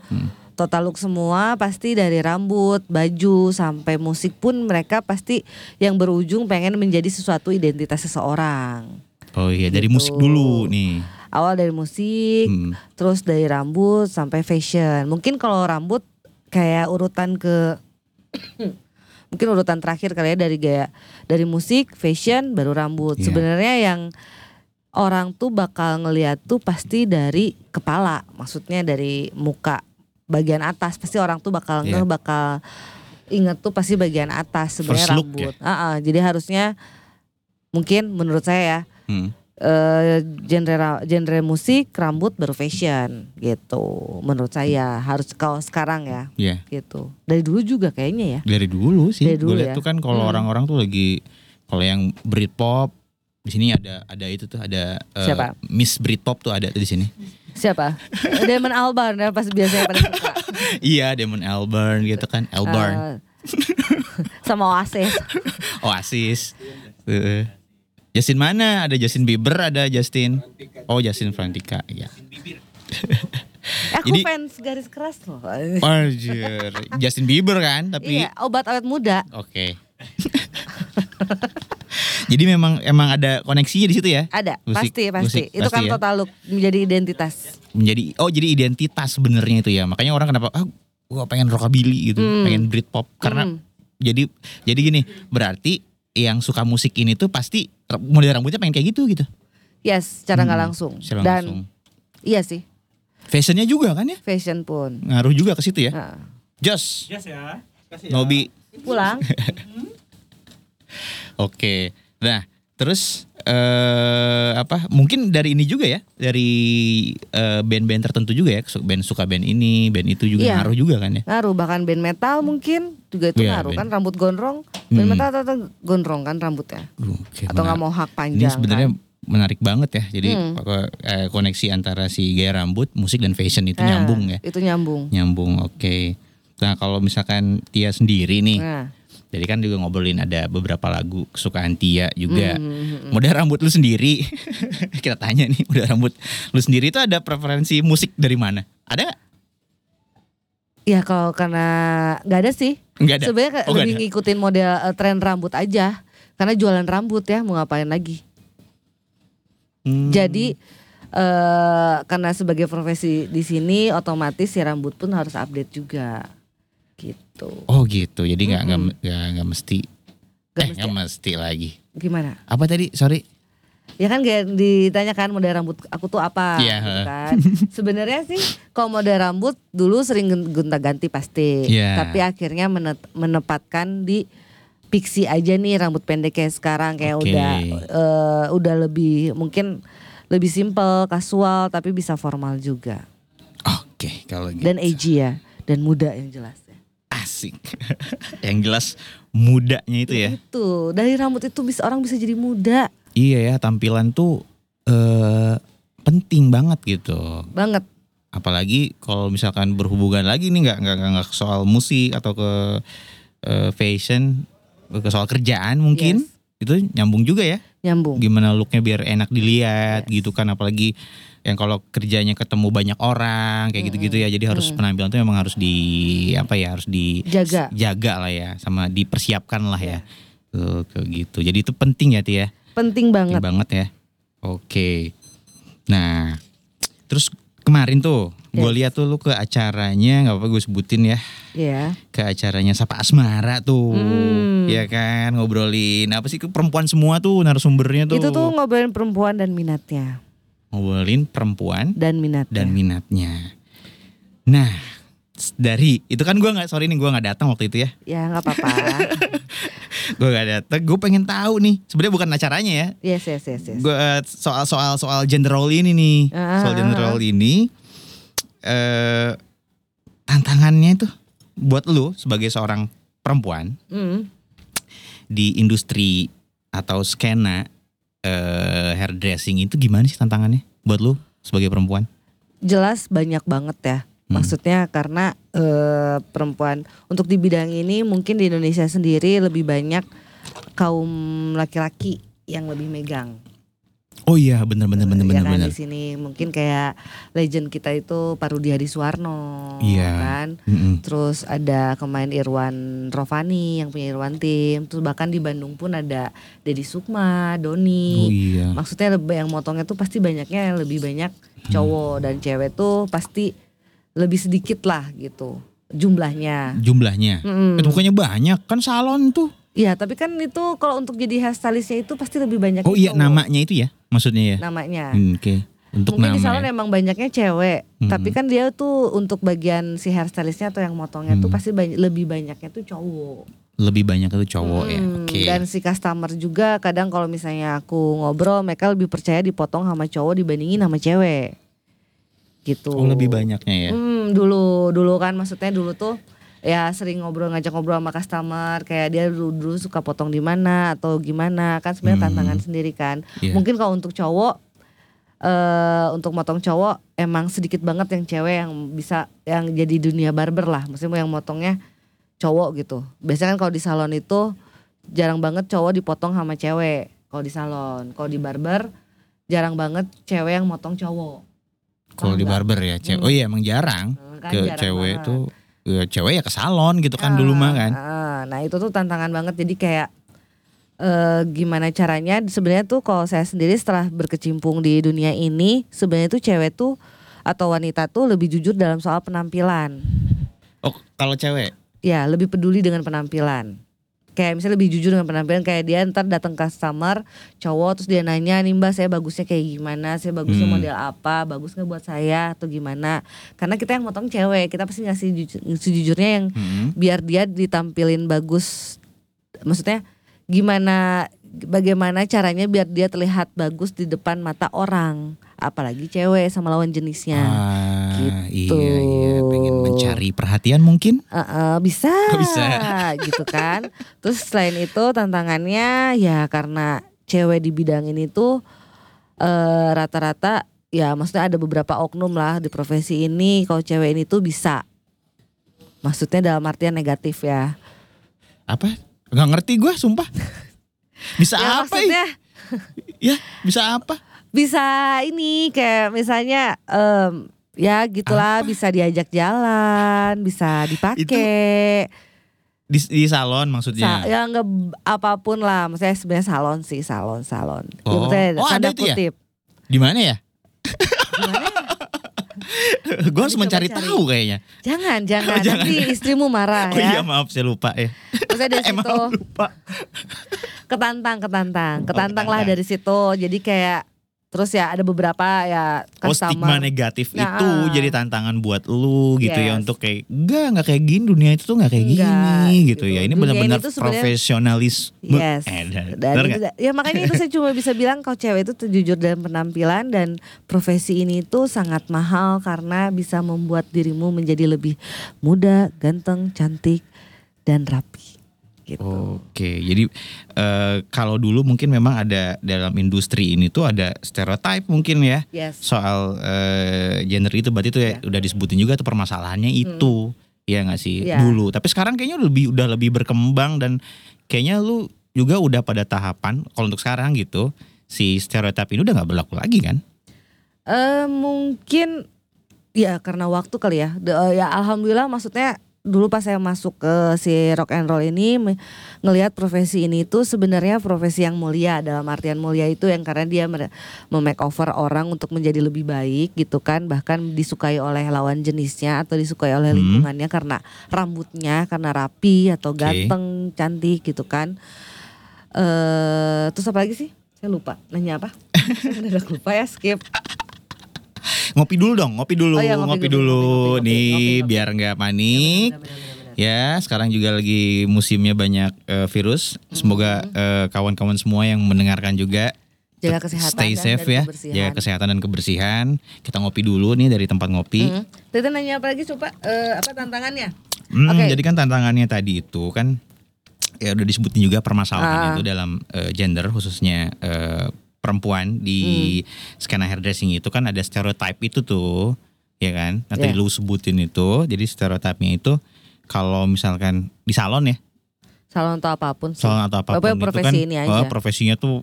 S2: total look semua pasti dari rambut baju sampai musik pun mereka pasti yang berujung pengen menjadi sesuatu identitas seseorang
S1: Oh iya, dari
S2: Gitu. Iya.
S1: musik dulu nih.
S2: awal dari musik
S1: Hmm.
S2: terus dari rambut sampai fashion mungkin kalau rambut kayak urutan ke mungkin urutan terakhir kali ya dari gaya dari musik fashion baru rambut
S1: Iya.
S2: sebenarnya yang orang tuh bakal ngeliat tuh pasti dari kepala maksudnya dari muka bagian atas pasti orang tuh bakal
S1: Iya.
S2: ngeh bakal inget tuh pasti bagian atas
S1: First
S2: sebenarnya
S1: look ya?
S2: rambut Ah, ah, jadi harusnya mungkin menurut saya ya
S1: Hmm.
S2: eh genre ra- genre musik rambut baru fashion gitu menurut saya harus kalau sekarang ya
S1: Iya,
S2: gitu dari dulu juga kayaknya ya
S1: dari dulu sih.
S2: Dari dulu
S1: Gue lihat
S2: ya.
S1: tuh kan kalau
S2: Hmm.
S1: orang-orang tuh lagi kalau yang Britpop di sini ada ada itu tuh ada eh,
S2: Siapa? Hmm.
S1: Miss Britpop tuh ada tuh di sini.
S2: siapa Damon Albarn ya pas biasanya pada suka
S1: iya, Damon Albarn gitu kan, Albarn.
S2: Eh, sama Oasis Eh,
S1: Oasis. Heeh. Justin mana? Ada Justin Bieber, ada Justin. Oh, Justin Frantika. Ya.
S2: Eh, aku
S1: Jadi-
S2: fans garis keras loh
S1: Anjir. Justin Bieber kan, tapi
S2: iya obat awet muda
S1: oke. Jadi memang emang ada koneksinya di situ ya?
S2: ada
S1: Musik-
S2: pasti pasti
S1: musik,
S2: itu
S1: pasti
S2: kan
S1: ya.
S2: total look menjadi identitas
S1: Menjadi oh jadi identitas sebenarnya itu ya. Makanya orang kenapa ah gua pengen rockabilly gitu,
S2: Hmm.
S1: pengen Britpop karena jadi jadi gini, berarti yang suka musik ini tuh pasti r- model rambutnya pengen kayak gitu gitu.
S2: yes secara nggak langsung
S1: Hmm, Secara
S2: dan
S1: langsung.
S2: iya sih
S1: Fashionnya juga kan ya?
S2: fashion pun
S1: Ngaruh juga ke situ ya.
S2: Nah,
S1: Jos,
S3: Yes ya. Kasih ya.
S1: Nobi.
S2: pulang
S1: Oke. Nah, Terus eh apa? Mungkin dari ini juga ya, dari eh, band-band tertentu juga ya, su- band suka band ini, band itu juga
S2: Iya.
S1: ngaruh juga kan ya.
S2: Ngaruh bahkan band metal mungkin juga itu
S1: Iya,
S2: ngaruh
S1: band-
S2: kan rambut gondrong. Band
S1: Hmm.
S2: metal atau gondrong kan rambutnya.
S1: Aduh, oke,
S2: Atau nggak
S1: menar-
S2: mau hak
S1: Ini
S2: panjang.
S1: sebenarnya
S2: kan.
S1: menarik banget ya. Jadi
S2: Hmm.
S1: pokok- eh, koneksi antara si gaya rambut, musik dan fashion itu
S2: Nah,
S1: nyambung ya.
S2: Itu nyambung.
S1: Nyambung, oke. Nah kalau misalkan Tia sendiri nih,
S2: Nah.
S1: jadi kan juga ngobrolin ada beberapa lagu kesukaan Tia juga.
S2: Hmm.
S1: Model rambut lu sendiri, kita tanya nih, model rambut lu sendiri itu ada preferensi musik dari mana? Ada nggak?
S2: Ya kalau karena nggak ada sih.
S1: Nggak ada.
S2: Sebenarnya kayak
S1: Oh, nggak
S2: lebih
S1: ada.
S2: ngikutin model eh, tren rambut aja. Karena jualan rambut ya mau ngapain lagi.
S1: Hmm.
S2: Jadi eh karena sebagai profesi di sini otomatis si rambut pun harus update juga. Gitu.
S1: Oh gitu, jadi nggak nggak
S2: Mm-mm.
S1: nggak nggak mesti,
S2: Hmm.
S1: eh
S2: Nggak mesti- ya?
S1: nggak mesti lagi.
S2: Gimana?
S1: Apa tadi? Sorry.
S2: Ya kan kayak ditanyakan model rambut aku tuh apa
S1: Iya,
S2: gitu
S1: heeh.
S2: kan. Sebenarnya sih kalau model rambut dulu sering gen- gonta-ganti pasti.
S1: Iya.
S2: Tapi akhirnya menet- menempatkan di pixie aja nih rambut pendek kayak sekarang kayak
S1: Oke.
S2: udah eh, udah lebih mungkin lebih simple, kasual tapi bisa formal juga
S1: Oke, kalau gitu.
S2: dan edgy ya dan muda yang jelas ya.
S1: asik. Yang jelas mudanya itu
S2: Iya.
S1: ya.
S2: Itu Gitu. dari rambut itu bisa orang bisa jadi muda
S1: Iya ya, tampilan tuh eh penting banget gitu.
S2: banget.
S1: Apalagi kalau misalkan berhubungan lagi nih nggak nggak nggak nggak ke soal musik atau ke eh, fashion, ke soal kerjaan mungkin.
S2: Yes.
S1: Itu nyambung juga ya.
S2: Nyambung.
S1: Gimana looknya biar enak dilihat gitu kan apalagi yang kalau kerjanya ketemu banyak orang kayak gitu-gitu ya. Jadi harus penampilan tuh memang harus di apa ya, harus
S2: Jaga. Iya.
S1: dijaga lah ya sama dipersiapkan lah ya. Tuh, kayak gitu. Jadi itu penting ya Ti ya.
S2: Penting
S1: Penting
S2: banget.
S1: banget ya. Oke. Nah, terus kemarin tuh gue
S2: Yes.
S1: lihat tuh lu ke acaranya nggak apa gue sebutin ya
S2: Ya.
S1: ke acaranya Sapa Asmara tuh,
S2: Hmm.
S1: ya kan ngobrolin apa sih ke perempuan semua tuh narasumbernya tuh,
S2: Itu tuh ngobrolin perempuan dan minatnya
S1: ngobrolin perempuan
S2: dan minatnya.
S1: dan minatnya. Nah s- dari itu kan gua nggak sorry nih gue nggak datang waktu itu ya,
S2: Ya nggak apa-apa.
S1: gue nggak datang. Gue pengen tahu nih sebenarnya bukan acaranya ya,
S2: yes yes yes yes.
S1: Gua, eh, soal soal soal gender role ini nih
S2: Ah,
S1: soal
S2: ah,
S1: gender
S2: ah.
S1: role ini eh tantangannya itu buat lu sebagai seorang perempuan
S2: Mm.
S1: di industri atau skena eh hairdressing itu gimana sih tantangannya buat lu sebagai perempuan
S2: Jelas banyak banget ya.
S1: Hmm.
S2: Maksudnya karena eh, perempuan untuk di bidang ini mungkin di Indonesia sendiri lebih banyak kaum laki-laki yang lebih megang.
S1: oh iya bener bener bener bener
S2: ya kan
S1: bener
S2: di sini mungkin kayak legend kita itu Parudi Hadi Suwarno
S1: Iya.
S2: kan.
S1: Mm-mm.
S2: Terus ada kemarin Irwan Rovani yang punya Irwan Tim. Terus bahkan di Bandung pun ada Deddy Sukma,
S1: oh
S2: Doni.
S1: iya
S2: Maksudnya lebih yang motongnya tuh pasti banyaknya yang lebih banyak
S1: Hmm.
S2: cowok dan cewek tuh pasti lebih sedikit lah gitu jumlahnya.
S1: jumlahnya
S2: Mm-mm.
S1: itu bukannya banyak kan salon tuh
S2: Iya, tapi kan itu kalau untuk jadi hairstylistnya itu pasti lebih banyak
S1: oh iya
S2: cowok
S1: namanya itu ya maksudnya ya
S2: namanya.
S1: Hmm, oke untuk nama
S2: Mungkin di salon
S1: ya.
S2: emang banyaknya cewek,
S1: Hmm.
S2: tapi kan dia tuh untuk bagian si hairstylistnya atau yang motongnya tuh
S1: Hmm.
S2: pasti bany- lebih banyaknya tuh cowok.
S1: lebih banyak itu cowok ya
S2: Hmm,
S1: oke
S2: Dan si customer juga kadang kalau misalnya aku ngobrol mereka lebih percaya dipotong sama cowok dibandingin sama cewek. Gitu.
S1: Oh lebih banyaknya ya.
S2: Hmm, dulu dulu kan maksudnya dulu tuh ya sering ngobrol ngajak ngobrol sama customer kayak dia dulu, dulu suka potong di mana atau gimana kan
S1: Hmm.
S2: sebenarnya tantangan sendiri kan.
S1: Iya.
S2: Mungkin kalau untuk cowok eh untuk motong cowok emang sedikit banget yang cewek yang bisa yang jadi dunia barber lah, maksudnya yang motongnya cowok gitu. Biasanya kan kalau di salon itu jarang banget cowok dipotong sama cewek kalau di salon. Kalau di barber jarang banget cewek yang motong cowok.
S1: Kalau di
S2: Paham nggak?
S1: barber ya, cewek.
S2: Hmm.
S1: Oh iya emang jarang
S2: Kan
S1: ke
S2: jarang
S1: cewek
S2: banget.
S1: tuh ya, cewek ya ke salon gitu kan dulu
S2: Ah,
S1: mah kan.
S2: ah, nah itu tuh tantangan banget jadi kayak eh, gimana caranya sebenarnya tuh kalau saya sendiri setelah berkecimpung di dunia ini sebenarnya tuh cewek tuh atau wanita tuh lebih jujur dalam soal penampilan. Ah.
S1: Oh kalau cewek.
S2: Ya lebih peduli dengan penampilan. Kayak misalnya lebih jujur dengan penampilan kayak dia ntar datang customer cowok terus dia nanya nih mbak saya bagusnya kayak gimana saya bagusnya
S1: Hmm.
S2: model apa bagus nggak buat saya atau gimana karena kita yang motong cewek kita pasti ngasih ju- sejujurnya yang
S1: Hmm.
S2: biar dia ditampilin bagus maksudnya gimana bagaimana caranya biar dia terlihat bagus di depan mata orang, apalagi cewek sama lawan jenisnya.
S1: Ah,
S2: Ya, gitu.
S1: Iya, iya, pengen mencari perhatian mungkin.
S2: Eh, eh, bisa,
S1: Oh, bisa.
S2: gitu kan. Terus selain itu tantangannya ya karena cewek di bidang ini tuh eh, rata-rata ya maksudnya ada beberapa oknum lah di profesi ini kalau cewek ini tuh bisa. Maksudnya dalam artian negatif ya.
S1: Apa? Nggak ngerti gue, sumpah. Bisa
S2: ya
S1: apa? ih?
S2: maksudnya
S1: Ya, bisa apa?
S2: bisa ini kayak misalnya em, ya
S1: Ah.
S2: gitulah bisa diajak jalan, bisa dipakai.
S1: Di, di salon
S2: Sa-
S1: maksudnya.
S2: ya nggak b- apapun lah maksudnya sebenarnya salon sih salon salon ya,
S1: Oh.
S2: maksudnya
S1: Oh, ada
S2: tanda
S1: itu ya?
S2: kutip
S1: Di mana ya?
S2: Gimana ya?
S1: gue harus
S2: Coba
S1: mencari
S2: cari.
S1: tahu kayaknya.
S2: jangan jangan
S1: Oh, jangan.
S2: nanti istrimu marah
S1: Oh iya
S2: ya
S1: maaf saya lupa ya.
S2: maksudnya dari
S1: Emang
S2: situ
S1: lupa.
S2: ketantang ketantang ketantang lah
S1: Oh, ketantang.
S2: dari situ jadi kayak terus ya ada beberapa ya
S1: Oh stigma
S2: customer
S1: negatif
S2: Nah,
S1: itu
S2: ah.
S1: jadi tantangan buat lu gitu ya
S2: Yes.
S1: untuk kayak enggak enggak kayak gini dunia itu tuh enggak kayak
S2: Enggak,
S1: gini
S2: gitu.
S1: gitu ya. Ini
S2: Dunia
S1: benar-benar
S2: ini tuh sebenarnya-
S1: profesionalis.
S2: Yes.
S1: Eh, benar-
S2: Dan
S1: benar
S2: itu,
S1: nggak?
S2: ya makanya itu saya cuma bisa bilang kalau cewek itu tuh jujur dalam penampilan dan profesi ini tuh sangat mahal karena bisa membuat dirimu menjadi lebih muda, ganteng, cantik dan rapi. Gitu.
S1: Oke, jadi eh, kalau dulu mungkin memang ada dalam industri ini tuh ada stereotype mungkin ya
S2: Yes.
S1: soal eh, gender itu berarti itu
S2: Iya.
S1: ya, udah disebutin juga tuh permasalahannya itu ya nggak sih
S2: Hmm. Iya.
S1: dulu. Tapi sekarang kayaknya udah lebih udah lebih berkembang dan kayaknya lu juga udah pada tahapan kalau untuk sekarang gitu si stereotip ini udah nggak berlaku lagi kan?
S2: Eh mungkin ya karena waktu kali ya. De- eh, ya alhamdulillah maksudnya dulu pas saya masuk ke si rock and roll ini me- ngelihat profesi ini itu sebenarnya profesi yang mulia dalam artian mulia itu yang karena dia mere- memakeover orang untuk menjadi lebih baik gitu kan bahkan disukai oleh lawan jenisnya atau disukai oleh
S1: Hmm.
S2: lingkungannya karena rambutnya karena rapi atau
S1: Oke.
S2: ganteng cantik gitu kan eh terus apa lagi sih saya lupa nanya apa saya mendadak lupa ya skip
S1: Ngopi dulu dong, ngopi dulu,
S2: Oh iya, ngopi
S1: ngopi,
S2: dulu,
S1: dulu
S2: ngopi, ngopi,
S1: nih
S2: ngopi, Iya, ngopi.
S1: biar nggak panik. Ya, sekarang juga lagi musimnya banyak eh, virus. Semoga eh, kawan-kawan semua yang mendengarkan juga
S2: Jaga
S1: tet-
S2: kesehatan
S1: stay
S2: dan-
S1: safe
S2: dan
S1: ya,
S2: kebersihan.
S1: jaga kesehatan dan kebersihan. Kita ngopi dulu nih dari tempat ngopi.
S2: Hmm. Tete nanya apa lagi coba eh, apa tantangannya?
S1: Hmm,
S2: Oke.
S1: Jadi kan tantangannya tadi itu kan ya udah disebutin juga permasalahan
S2: Ah.
S1: itu dalam eh, gender khususnya eh, perempuan di
S2: Hmm.
S1: skena hairdressing itu kan ada stereotype itu tuh ya kan nanti
S2: Iya.
S1: lu sebutin itu jadi stereotipnya itu kalau misalkan di salon ya
S2: Salon atau apapun sih.
S1: salon atau apapun
S2: Pokoknya
S1: itu
S2: profesi
S1: kan
S2: ini
S1: oh,
S2: aja.
S1: profesinya tuh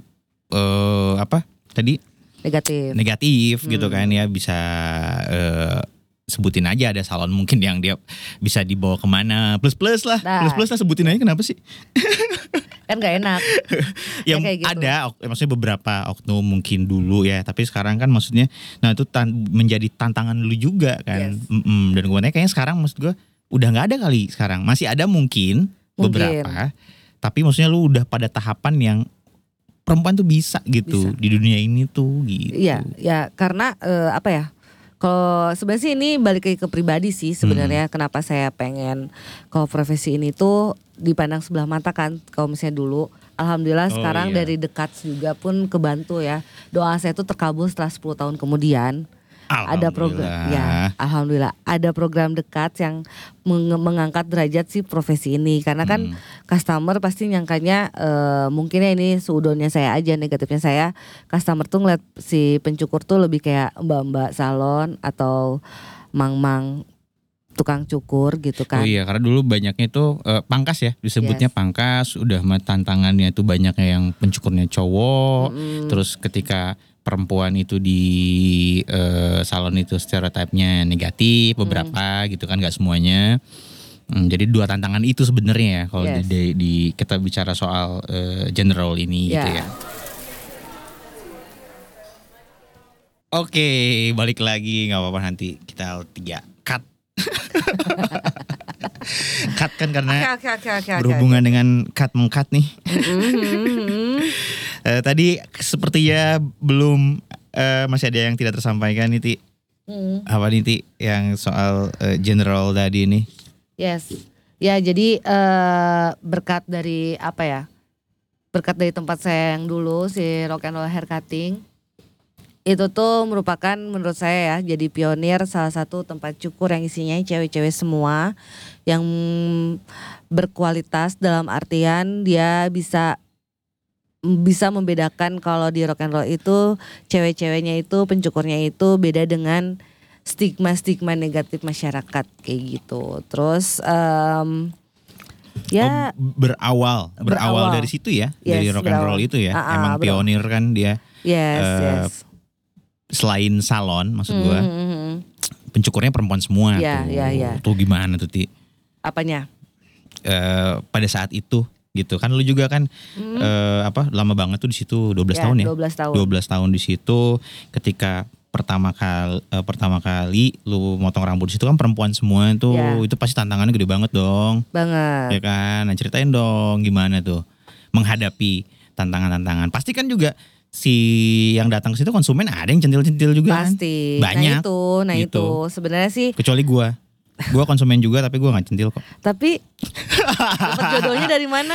S1: eh, apa tadi
S2: Negatif.
S1: negatif gitu
S2: Iya. Hmm.
S1: kan ya bisa eh, sebutin aja ada salon mungkin yang dia bisa dibawa kemana plus plus lah
S2: Nah.
S1: plus plus lah sebutin aja kenapa sih
S2: Kan gak enak.
S1: yang
S2: kayak gitu.
S1: ada ok- ya maksudnya beberapa oknum mungkin dulu ya tapi sekarang kan maksudnya nah itu tan- menjadi tantangan lu juga kan
S2: Yes.
S1: Mm-mm. dan gue nanya kayaknya sekarang maksud gue udah nggak ada kali sekarang masih ada mungkin,
S2: Mungkin.
S1: beberapa tapi maksudnya lu udah pada tahapan yang perempuan tuh bisa gitu di dunia ini tuh gitu
S2: Iya, ya karena eh, apa ya? Kalau sebenarnya sih ini balik lagi ke pribadi sih sebenarnya
S1: Hmm.
S2: kenapa saya pengen kalau profesi ini tuh dipandang sebelah mata kan kalau misalnya dulu alhamdulillah
S1: Oh, iya.
S2: sekarang dari dekat juga pun kebantu ya. Doa saya tuh terkabul setelah 10 tahun kemudian. ada program
S1: Alhamdulillah.
S2: ya alhamdulillah ada program dekat yang meng- mengangkat derajat si profesi ini karena
S1: Hmm.
S2: kan customer pasti nyangkanya eh, mungkinnya ini seudonnya saya aja negatifnya saya customer tuh ngeliat si pencukur tuh lebih kayak mbak-mbak salon atau mang-mang tukang cukur gitu
S1: Oh
S2: kan
S1: iya, karena dulu banyaknya itu eh, pangkas ya, disebutnya
S2: Yes.
S1: pangkas. Udah mah tantangannya itu banyaknya yang pencukurnya cowok.
S2: Mm-mm.
S1: Terus ketika perempuan itu di eh, salon itu stereotipnya negatif beberapa gitu kan, nggak semuanya. Hmm, jadi dua tantangan itu sebenarnya ya kalau di-
S2: Yes.
S1: di, di- kita bicara soal eh, gender role ini gitu ya.
S2: Ya.
S1: Oke, balik lagi nggak apa-apa nanti kita tiga cut. cut kan karena
S2: oke oke oke
S1: berhubungan dengan cut mengkat nih.
S2: Mhm.
S1: Eh, tadi sepertinya belum eh, masih ada yang tidak tersampaikan nih Ti.
S2: Mhm.
S1: Apa nih Ti yang soal eh, general tadi nih?
S2: Yes. Ya, jadi eh berkat dari apa ya? berkat dari tempat saya yang dulu si rock and roll hair cutting itu tuh merupakan menurut saya ya jadi pionir salah satu tempat cukur yang isinya cewek-cewek semua yang berkualitas dalam artian dia bisa bisa membedakan kalau di rock and roll itu cewek-ceweknya itu pencukurnya itu beda dengan stigma-stigma negatif masyarakat kayak gitu. Terus em, ya
S1: Oh, berawal, berawal
S2: Berawal.
S1: dari situ ya,
S2: Yes,
S1: dari rock and roll
S2: berawal.
S1: itu ya.
S2: Ah, ah,
S1: Emang
S2: berawal.
S1: pionir kan dia
S2: yes
S1: eh,
S2: yes.
S1: selain salon maksud gua,
S2: Mm, mm, mm, mm.
S1: pencukurnya perempuan semua tuh.
S2: Iya, iya, iya.
S1: Tuh gimana tuh Ti?
S2: Apanya?
S1: Eh, pada saat itu gitu kan lu juga kan
S2: Hmm.
S1: eh, apa lama banget tuh di situ 12 tahun ya.
S2: 12 tahun.
S1: 12 tahun di situ ketika pertama kali pertama kali lu motong rambut di situ kan perempuan semua tuh
S2: Iya.
S1: itu pasti tantangannya gede banget dong
S2: Banget.
S1: ya kan nah ceritain dong gimana tuh menghadapi tantangan-tantangan pasti kan juga si yang datang ke situ konsumen ada yang centil-centil juga kan?
S2: Pasti.
S1: Banyak,
S2: Nah itu, nah
S1: gitu.
S2: itu sebenarnya sih
S1: kecuali gua gua konsumen juga tapi gua nggak centil kok
S2: tapi dapat jodohnya dari mana?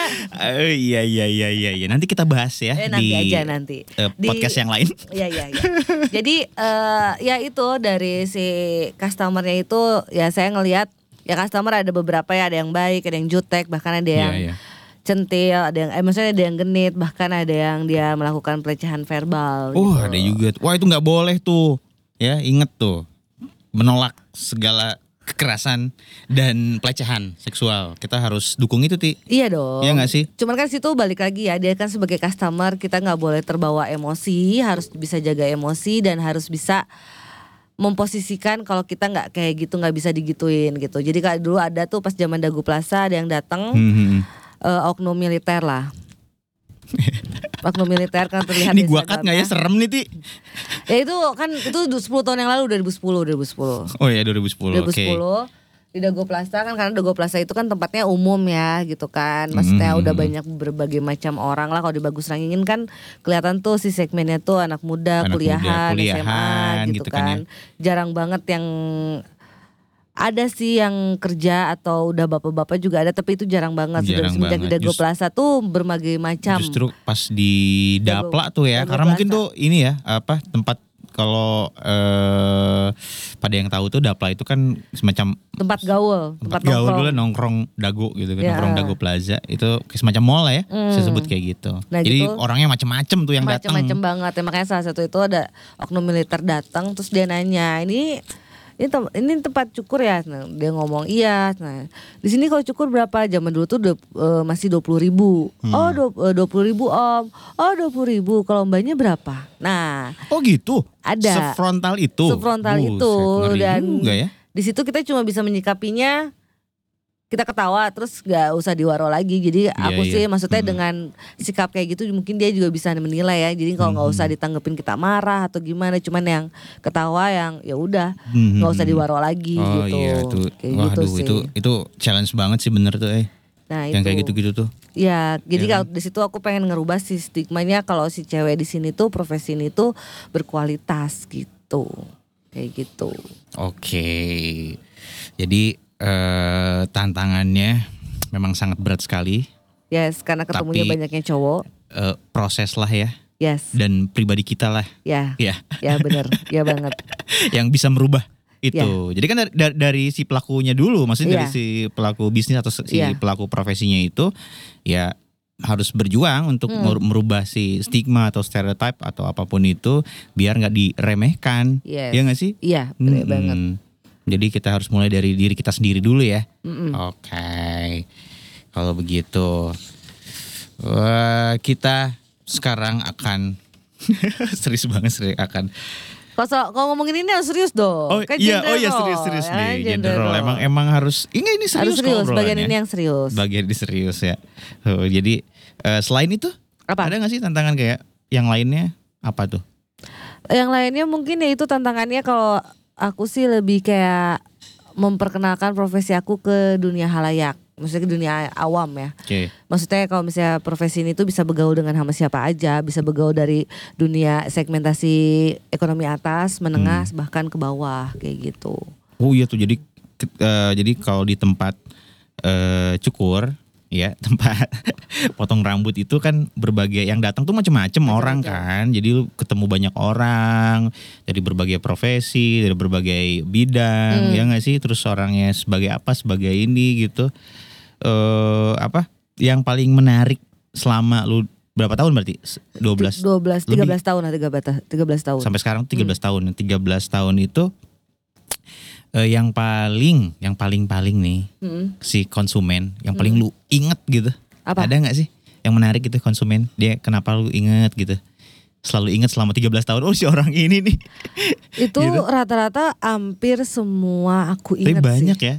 S1: Eh, iya iya iya iya iya. nanti kita bahas ya
S2: Eh nanti
S1: di
S2: aja nanti.
S1: eh,
S2: Di-
S1: podcast yang lain
S2: Iya iya iya. Jadi eh ya itu dari si customernya itu ya saya ngelihat ya customer ada beberapa ya ada yang baik, ada yang jutek, bahkan ada yang
S1: Iya, iya.
S2: centil, ada yang eh, maksudnya ada yang genit, bahkan ada yang dia melakukan pelecehan verbal.
S1: Oh
S2: gitu.
S1: ada juga. Wah itu nggak boleh tuh. Ya inget tuh menolak segala kekerasan dan pelecehan seksual. Kita harus dukung itu ti.
S2: Iya dong.
S1: Iya nggak sih?
S2: Cuman kan situ balik lagi ya, dia kan sebagai customer kita nggak boleh terbawa emosi, harus bisa jaga emosi dan harus bisa memposisikan kalau kita nggak kayak gitu nggak bisa digituin gitu. Jadi kayak dulu ada tuh pas zaman Dagu Plaza ada yang datang
S1: Hmm, hmm.
S2: eh, oknum militer lah. oknum militer kan terlihat
S1: Ini
S2: di
S1: gua cut nggak ya serem nih
S2: Instagramnya.
S1: ti.
S2: Ya itu kan itu du- 10 tahun yang lalu 2010 2010.
S1: Oh ya 2010.
S2: 2010
S1: Oke.
S2: di Dago Plaza kan karena Dago Plaza itu kan tempatnya umum ya gitu kan maksudnya
S1: Hmm.
S2: udah banyak berbagai macam orang lah kalau di Bagus Rangingin kan kelihatan tuh si segmennya tuh anak muda,
S1: Anak muda,
S2: kuliahan, SMA
S1: kuliahan,
S2: gitu,
S1: gitu kan
S2: kan, jarang banget yang ada sih yang kerja atau udah bapak-bapak juga ada tapi itu jarang banget sudah
S1: Jarang
S2: semenjak di
S1: banget.
S2: Dago
S1: Just-
S2: Plaza tuh berbagai macam
S1: Justru pas di
S2: Dago-
S1: Dapla tuh ya,
S2: Dago
S1: karena mungkin
S2: Plaza.
S1: tuh ini ya apa tempat kalau eh pada yang tahu tuh Dapla itu kan semacam
S2: tempat gaul,
S1: tempat
S2: tempat,
S1: gaul
S2: nongkrong.
S1: Ya, dulu nongkrong dago gitu kan
S2: Ya. Hmm.
S1: nongkrong dago plaza itu kayak semacam mall lah ya saya sebut kayak gitu
S2: Nah,
S1: jadi
S2: gitu.
S1: orangnya macem-macem tuh yang datang
S2: macam-macam banget ya makanya salah satu itu ada oknum militer datang terus dia nanya ini ini tem- ini tempat cukur ya Nah, dia ngomong iya nah di sini kalau cukur berapa zaman dulu tuh du- eh, masih dua puluh ribu oh dua puluh ribu om oh dua puluh ribu kalau mbaknya berapa nah
S1: oh gitu
S2: Ada.
S1: sefrontal itu
S2: Sefrontal
S1: Buset,
S2: itu,
S1: ngeri
S2: dan-
S1: juga ya
S2: di situ kita cuma bisa menyikapinya kita ketawa terus gak usah diwaro lagi jadi aku
S1: iya.
S2: sih maksudnya
S1: Hmm.
S2: dengan sikap kayak gitu mungkin dia juga bisa menilai ya jadi kalau nggak usah ditanggepin kita marah atau gimana cuman yang ketawa yang ya udah
S1: Hmm,
S2: nggak usah
S1: hmm,
S2: diwaro lagi
S1: oh
S2: gitu
S1: iya itu
S2: kayak gitu
S1: waduh
S2: sih
S1: itu itu challenge banget sih bener tuh eh
S2: nah
S1: yang
S2: itu
S1: kayak gitu-gitu tuh
S2: ya jadi
S1: Iya
S2: kalau di situ aku pengen ngerubah si stigmanya kalau si cewek di sini tuh profesi ini tuh berkualitas gitu kayak gitu
S1: Oke. Jadi eh, tantangannya memang sangat berat sekali.
S2: yes karena ketemunya
S1: Tapi-
S2: banyaknya cowok
S1: Eh, proses lah ya
S2: yes
S1: dan pribadi kita lah
S2: ya
S1: ya
S2: ya bener ya banget
S1: yang bisa merubah itu.
S2: Ya.
S1: Jadi kan dari, dari- dari si pelakunya dulu, maksudnya dari
S2: Iya.
S1: si pelaku bisnis atau si
S2: Iya.
S1: pelaku profesinya itu ya harus berjuang untuk
S2: Hmm.
S1: mer- merubah si stigma atau stereotype atau apapun itu biar nggak diremehkan.
S2: Yes.
S1: Ya nggak sih?
S2: Iya, bener
S1: Mm-mm.
S2: banget.
S1: Jadi kita harus mulai dari diri kita sendiri dulu ya.
S2: Mm-mm.
S1: Oke. Kalau begitu Wah, kita sekarang akan serius banget serius akan
S2: Kalau so- kalau ngomongin ini harus serius dong.
S1: Oh
S2: Kan
S1: iya,
S2: gender
S1: oh iya
S2: role,
S1: serius serius
S2: ya kan,
S1: nih.
S2: gender
S1: Gender role
S2: role.
S1: emang emang harus ini ini serius,
S2: harus serius.
S1: kok
S2: Bagian
S1: obrolannya.
S2: ini yang serius.
S1: bagian ini serius ya. Oh, jadi eh, selain itu
S2: Apa?
S1: ada nggak sih tantangan kayak yang lainnya apa tuh?
S2: Yang lainnya mungkin ya itu tantangannya kalau aku sih lebih kayak memperkenalkan profesi aku ke dunia halayak, maksudnya ke dunia awam ya.
S1: Oke.
S2: Maksudnya kalau misalnya profesi ini tuh bisa bergaul dengan sama siapa aja, bisa bergaul dari dunia segmentasi ekonomi atas, menengah,
S1: Hmm.
S2: bahkan ke bawah kayak gitu.
S1: Oh iya tuh jadi ke- eh, jadi kalau di tempat eh, cukur ya tempat potong rambut itu kan berbagai yang datang tuh macam-macam orang kan jadi lu ketemu banyak orang dari berbagai profesi dari berbagai bidang ya nggak sih terus orangnya sebagai apa sebagai ini gitu eh apa yang paling menarik selama lu berapa tahun berarti Se- 12
S2: 12
S1: Lebih.
S2: 13 tahun lah 13 13 tahun.
S1: sampai sekarang 13
S2: Hmm.
S1: tahun. 13 tahun itu eh, yang paling yang paling-paling nih
S2: Mm.
S1: si konsumen yang paling lu inget gitu.
S2: Hmm. Apa?
S1: Ada nggak sih yang menarik gitu konsumen? Dia kenapa lu inget gitu? Selalu inget selama 13 tahun. Oh, si orang ini nih.
S2: Itu
S1: Gitu.
S2: rata-rata hampir semua aku
S1: Tapi
S2: ingat
S1: banyak
S2: sih.
S1: ya.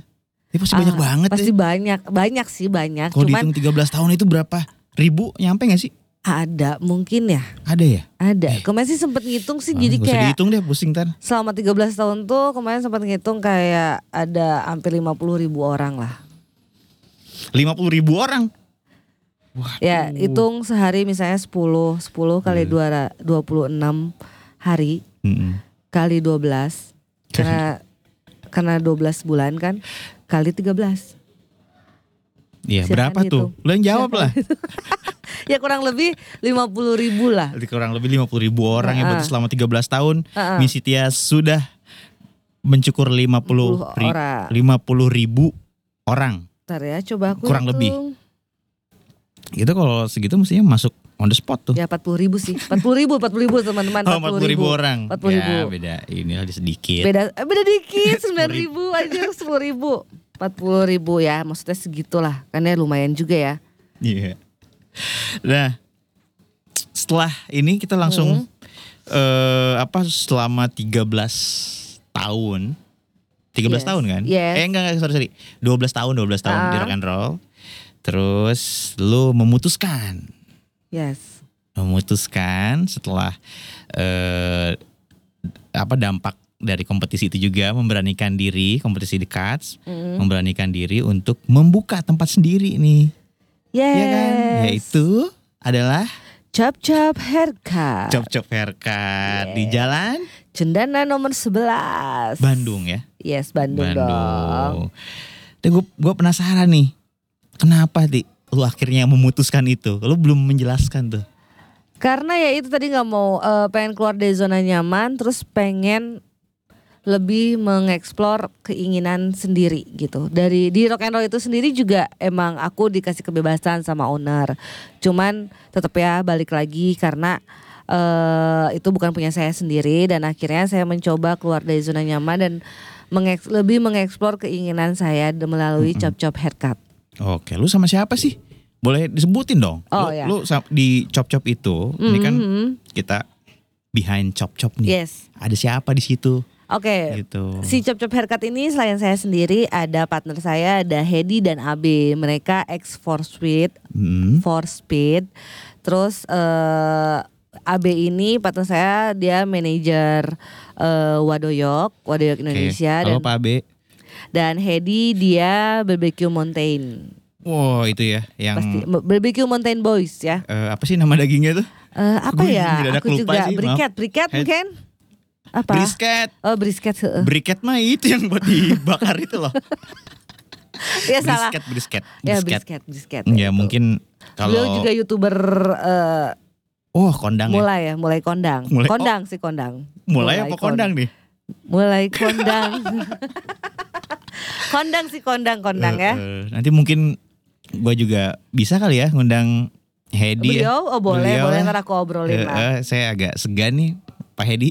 S1: Tapi pasti
S2: Ah,
S1: banyak banget
S2: Pasti
S1: ya.
S2: banyak, banyak sih banyak.
S1: Kalau
S2: Cuman
S1: dihitung 13 tahun itu berapa? Ribu nyampe gak sih?
S2: ada mungkin ya,
S1: Ada ya?
S2: ada. Kemarin sih sempet ngitung
S1: Wah,
S2: sih jadi
S1: Ah, nggak usah
S2: kayak
S1: dihitung deh pusing tan.
S2: selama 13 tahun tuh kemarin sempat ngitung kayak ada hampir 50 ribu orang lah.
S1: 50 ribu orang. Wah,
S2: Ya, hitung sehari misalnya 10, 10 kali
S1: Hmm.
S2: dua 26 hari kali 12 karena karena 12 bulan kan kali 13.
S1: Iya,
S2: Silakan
S1: berapa tuh?
S2: dihitung.
S1: Lu yang jawab lah.
S2: Ya kurang lebih 50 ribu lah.
S1: Berarti kurang lebih 50 ribu orang yang berarti
S2: Heeh.
S1: selama 13 tahun
S2: Heeh.
S1: Misi Tia sudah mencukur 50
S2: 50
S1: ri-
S2: orang.
S1: 50 ribu orang.
S2: Ntar ya coba aku
S1: Kurang lebih.
S2: hitung.
S1: Itu Gitu kalau segitu mestinya masuk on the spot tuh.
S2: Ya 40 ribu sih. 40 ribu, 40 ribu teman-teman.
S1: Oh, 40 ribu orang.
S2: 40 ribu.
S1: Ya, beda. Inilah sedikit.
S2: Beda eh, beda dikit 9
S1: 10.000.
S2: ribu aja 10 ribu. 40 ribu ya maksudnya segitulah. Karena lumayan juga ya.
S1: Iya. Nah, setelah ini kita
S2: Hmm.
S1: langsung eh apa selama 13 tahun 13
S2: Yes,
S1: tahun kan?
S2: yes.
S1: Eh enggak enggak sorry, sorry. 12 tahun, 12 tahun di
S2: Ah.
S1: rock and roll. Terus lu memutuskan
S2: Yes.
S1: memutuskan setelah eh, apa dampak dari kompetisi itu juga memberanikan diri kompetisi dekat
S2: Mm.
S1: memberanikan diri untuk membuka tempat sendiri nih
S2: Yes.
S1: ya kan yaitu adalah
S2: Chop Chop Haircut.
S1: cop cop haircut di jalan
S2: Cendana nomor 11.
S1: Bandung ya
S2: Yes, Bandung, dong.
S1: Dan gue penasaran nih kenapa di lu akhirnya memutuskan itu lu belum menjelaskan tuh
S2: Karena ya itu tadi nggak mau eh, pengen keluar dari zona nyaman, terus pengen lebih mengeksplor keinginan sendiri gitu. Dari di rock and roll itu sendiri juga emang aku dikasih kebebasan sama owner. Cuman tetap ya balik lagi karena eh itu bukan punya saya sendiri dan akhirnya saya mencoba keluar dari zona nyaman dan mengeks- lebih mengeksplor keinginan saya de- melalui chop-chop haircut.
S1: Oke, lu sama siapa sih? Boleh disebutin dong.
S2: Oh,
S1: lu,
S2: iya.
S1: lu sa- di cop-cop itu, ini kan
S2: Mhm.
S1: kita behind cop-cop nih.
S2: Yes.
S1: Ada siapa di situ?
S2: Oke.
S1: Gitu.
S2: Si Chop Chop Haircut ini selain saya sendiri ada partner saya ada Hedi dan AB. Mereka ex Four Speed,
S1: Hmm.
S2: Four Speed. Terus eh AB ini partner saya dia manajer eh, Wadoyok, Wadoyok
S1: oke.
S2: Indonesia
S1: Halo
S2: dan
S1: Pak Abe.
S2: dan Hedi dia BBQ Mountain.
S1: Wow, itu ya yang
S2: Pasti BBQ Mountain Boys ya.
S1: eh, apa sih nama dagingnya tuh?
S2: Eh, apa
S1: Gua
S2: ya?
S1: mendadak
S2: Aku
S1: lupa
S2: juga
S1: sih, maaf.
S2: briket, briket
S1: Head-
S2: mungkin. Apa?
S1: Brisket.
S2: Oh, brisket. heeh.
S1: Briket mah itu yang buat dibakar itu loh.
S2: Ya salah.
S1: Brisket, brisket,
S2: Ya
S1: brisket.
S2: brisket, brisket.
S1: Ya,
S2: gitu.
S1: mungkin
S2: Beliau
S1: kalau
S2: juga youtuber eh,
S1: oh kondang ya.
S2: mulai ya, mulai kondang,
S1: Mulai-
S2: kondang sih kondang,
S1: Mulai, apa
S2: mulai
S1: kondang nih?
S2: mulai kondang, kondang sih kondang kondang ya.
S1: Eh, eh, nanti mungkin gue juga bisa kali ya ngundang Hedi ya.
S2: Beliau oh boleh
S1: Beliau
S2: boleh
S1: lah.
S2: ntar aku obrolin
S1: Eh,
S2: lah,
S1: eh, saya agak segan nih Pak Hedi.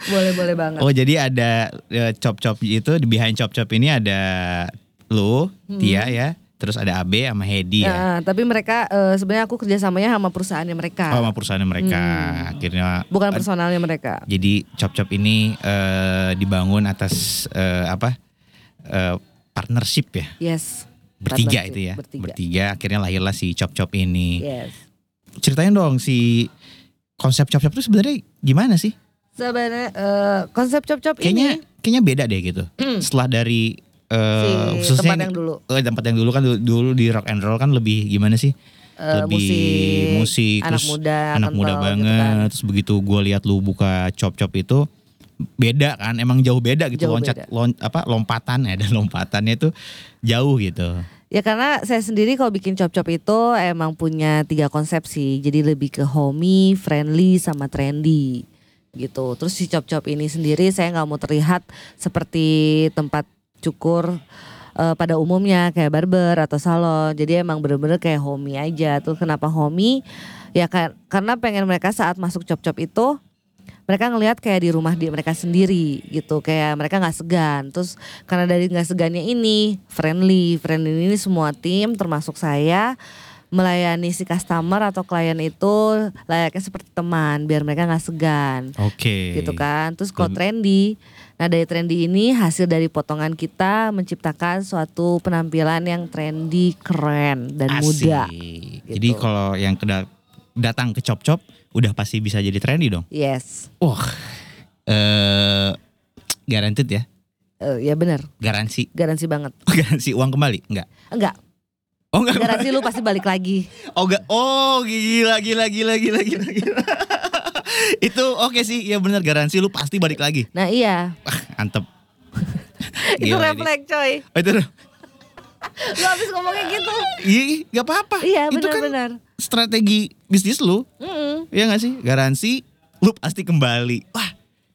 S2: boleh boleh banget.
S1: Oh jadi ada eh, cop-cop itu di behind cop-cop ini ada lu, Tia ya, terus ada Abe sama Hedi ya.
S2: Hmm. Nah, tapi mereka eh, sebenarnya aku kerjasamanya sama perusahaannya mereka,
S1: Oh, sama perusahaan mereka akhirnya.
S2: Hmm. bukan personalnya mereka.
S1: Jadi cop-cop ini eh, dibangun atas eh, apa? eh, partnership ya.
S2: Yes.
S1: Bertiga
S2: Partnership,
S1: itu ya.
S2: Bertiga. Iya.
S1: akhirnya lahirlah si cop-cop ini.
S2: Yes.
S1: Ceritain dong si konsep cop-cop itu sebenarnya gimana sih?
S2: Sebenarnya eh, konsep cop-cop
S1: kayaknya
S2: ini
S1: kayaknya beda deh gitu. Setelah dari eh,
S2: Hmm. si
S1: khususnya
S2: tempat yang dulu
S1: eh, tempat yang dulu kan dulu, dulu di rock and roll kan lebih gimana sih?
S2: Eh,
S1: lebih musik,
S2: anak
S1: terus
S2: muda,
S1: anak muda
S2: kental
S1: banget.
S2: gitu kan.
S1: Terus begitu gua lihat lu buka cop-cop itu beda kan emang jauh beda gitu
S2: Jauh
S1: loncat
S2: beda.
S1: lon, apa lompatan ya dan lompatannya itu jauh gitu
S2: Ya karena saya sendiri kalau bikin cop-cop itu emang punya tiga konsep sih. Jadi lebih ke homey, friendly, sama trendy gitu. Terus si cop-cop ini sendiri saya nggak mau terlihat seperti tempat cukur eh, pada umumnya kayak barber atau salon. Jadi emang bener-bener kayak homey aja. Terus kenapa homey? Ya ka- karena pengen mereka saat masuk cop-cop itu mereka ngelihat kayak di rumah di mereka sendiri gitu kayak mereka nggak segan terus karena dari nggak segannya ini friendly friendly ini semua tim termasuk saya melayani si customer atau klien itu layaknya seperti teman biar mereka nggak segan
S1: Oke.
S2: gitu kan terus kalau
S1: Dan-
S2: trendy nah dari trendy ini hasil dari potongan kita menciptakan suatu penampilan yang trendy keren
S1: Asik.
S2: dan muda
S1: Jadi
S2: gitu.
S1: kalau yang keda- datang ke cop-cop udah pasti bisa jadi trendy dong.
S2: yes
S1: Wah. Eh guaranteed ya.
S2: Eh, ya benar
S1: Garansi
S2: garansi banget
S1: garansi uang kembali? Enggak.
S2: enggak
S1: Oh enggak.
S2: garansi lu pasti balik lagi
S1: Oh enggak. Oh gila gila gila gila gila. gila. Itu oke sih, ya benar garansi lu pasti balik lagi.
S2: nah iya
S1: Antep.
S2: itu
S1: Gila ini.
S2: refleks coy
S1: Oh, itu
S2: lu habis ngomongnya gitu
S1: Iya, nggak apa-apa.
S2: iya
S1: itu kan
S2: benar-benar
S1: strategi bisnis lu,
S2: Mm-mm.
S1: ya nggak sih? Garansi lu pasti kembali. Wah,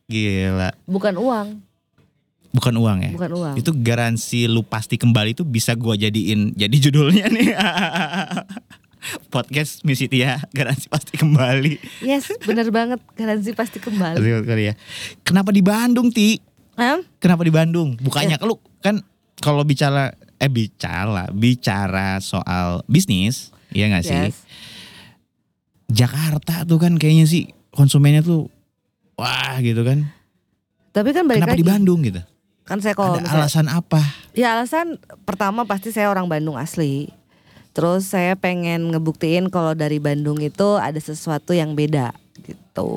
S1: gila.
S2: bukan uang
S1: Bukan uang ya?
S2: bukan uang
S1: Itu garansi lu pasti kembali itu bisa gua jadiin jadi judulnya nih. Podcast Misi Tia, garansi pasti kembali.
S2: yes benar banget garansi pasti kembali
S1: Kali ya. Kenapa di Bandung, Ti?
S2: Hah?
S1: Kenapa di Bandung? Bukannya
S2: Iya.
S1: lu kan kalau bicara eh bicara bicara soal bisnis, ya nggak sih?
S2: yes
S1: Jakarta tuh kan kayaknya sih konsumennya tuh wah gitu kan.
S2: tapi kan balik
S1: Kenapa
S2: lagi
S1: di Bandung gitu?
S2: kan saya
S1: Ada
S2: kalau misalnya-
S1: alasan apa?
S2: ya alasan pertama pasti saya orang Bandung asli terus saya pengen ngebuktiin kalau dari Bandung itu ada sesuatu yang beda gitu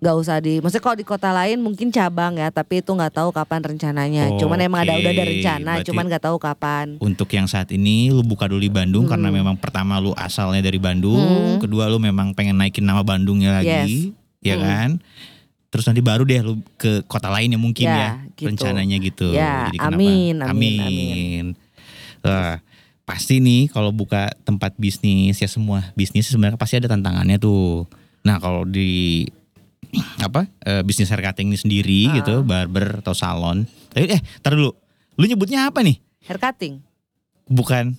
S2: nggak usah di, maksudnya kalau di kota lain mungkin cabang ya, tapi itu nggak tahu kapan rencananya. cuman emang ada
S1: Oke,
S2: udah ada rencana,
S1: berarti-
S2: cuman nggak tahu kapan.
S1: Untuk yang saat ini lu buka dulu di Bandung karena
S2: Hmm.
S1: memang pertama lu asalnya dari Bandung, kedua lu memang pengen naikin nama Bandungnya lagi, ya
S2: Mm.
S1: kan? Terus nanti baru deh lu ke kota lain yang mungkin
S2: Ya,
S1: ya
S2: gitu.
S1: rencananya gitu.
S2: Ya,
S1: kenapa?
S2: amin, amin,
S1: amin. Wah, pasti nih kalau buka tempat bisnis ya semua bisnis sebenarnya pasti ada tantangannya tuh. Nah kalau di apa eh, bisnis hair cutting ini sendiri
S2: Ah.
S1: gitu barber atau salon. Eh, eh tar dulu, lu nyebutnya apa nih?
S2: Hair cutting.
S1: Bukan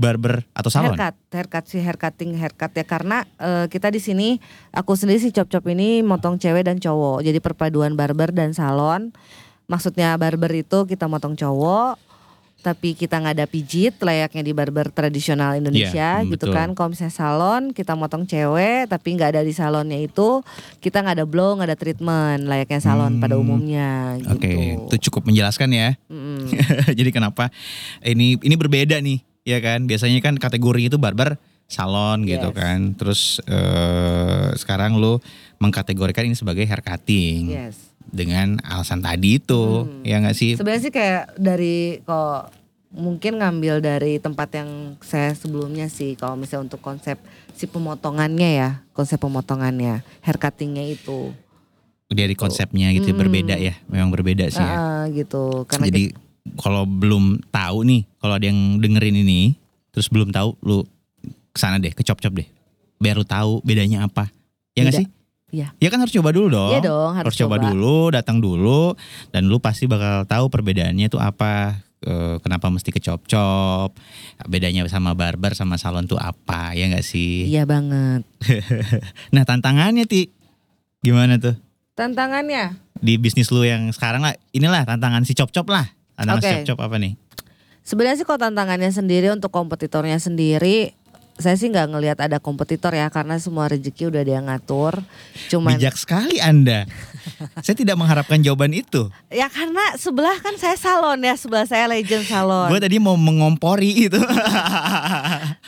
S1: barber atau salon?
S2: Haircut, haircut sih haircutting, haircut ya karena eh, kita di sini aku sendiri si cop cop ini motong cewek dan cowok. Jadi perpaduan barber dan salon. Maksudnya barber itu kita motong cowok tapi kita nggak ada pijit layaknya di barber tradisional Indonesia
S1: Iya,
S2: gitu
S1: betul.
S2: kan. Kalau misalnya salon kita motong cewek tapi nggak ada di salonnya itu kita nggak ada blow nggak ada treatment layaknya salon
S1: Hmm.
S2: pada umumnya gitu.
S1: Oke, itu cukup menjelaskan ya.
S2: Mm-mm.
S1: Jadi kenapa ini ini berbeda nih, ya kan? Biasanya kan kategori itu barber salon gitu
S2: Yes.
S1: kan. Terus eh, sekarang lu mengkategorikan ini sebagai hair cutting
S2: Yes.
S1: dengan alasan tadi itu,
S2: Hmm.
S1: ya nggak sih?
S2: Sebenarnya sih kayak dari kok mungkin ngambil dari tempat yang saya sebelumnya sih kalau misalnya untuk konsep si pemotongannya ya, konsep pemotongannya, hair cuttingnya itu.
S1: Dari konsepnya gitu
S2: Hmm.
S1: berbeda ya, memang berbeda sih ya.
S2: Ah, gitu. Karena
S1: Jadi kalau belum tahu nih, kalau ada yang dengerin ini, terus belum tahu, lu kesana deh, ke cop-cop deh, biar lu tahu bedanya apa, ya nggak
S2: Beda.
S1: sih?
S2: Iya.
S1: Ya kan harus coba dulu
S2: kita-
S1: dong.
S2: iya dong harus,
S1: harus coba, dulu, datang dulu, dan lu pasti bakal tahu perbedaannya itu apa. eh, Kenapa mesti ke cop-cop? Bedanya sama barber sama salon tuh apa ya nggak sih?
S2: Iya banget.
S1: Nah tantangannya ti gimana tuh
S2: Tantangannya
S1: di bisnis lu yang sekarang lah? Inilah tantangan si cop-cop lah. Tantangan si
S2: Oke.
S1: cop-cop apa nih?
S2: Sebenarnya sih kalau tantangannya sendiri untuk kompetitornya sendiri saya sih nggak ngelihat ada kompetitor ya karena semua rezeki udah dia ngatur. Cuman
S1: Bijak sekali Anda. Saya tidak mengharapkan jawaban itu.
S2: ya karena sebelah kan saya salon ya, sebelah saya legend salon.
S1: Gue tadi mau mengompori itu.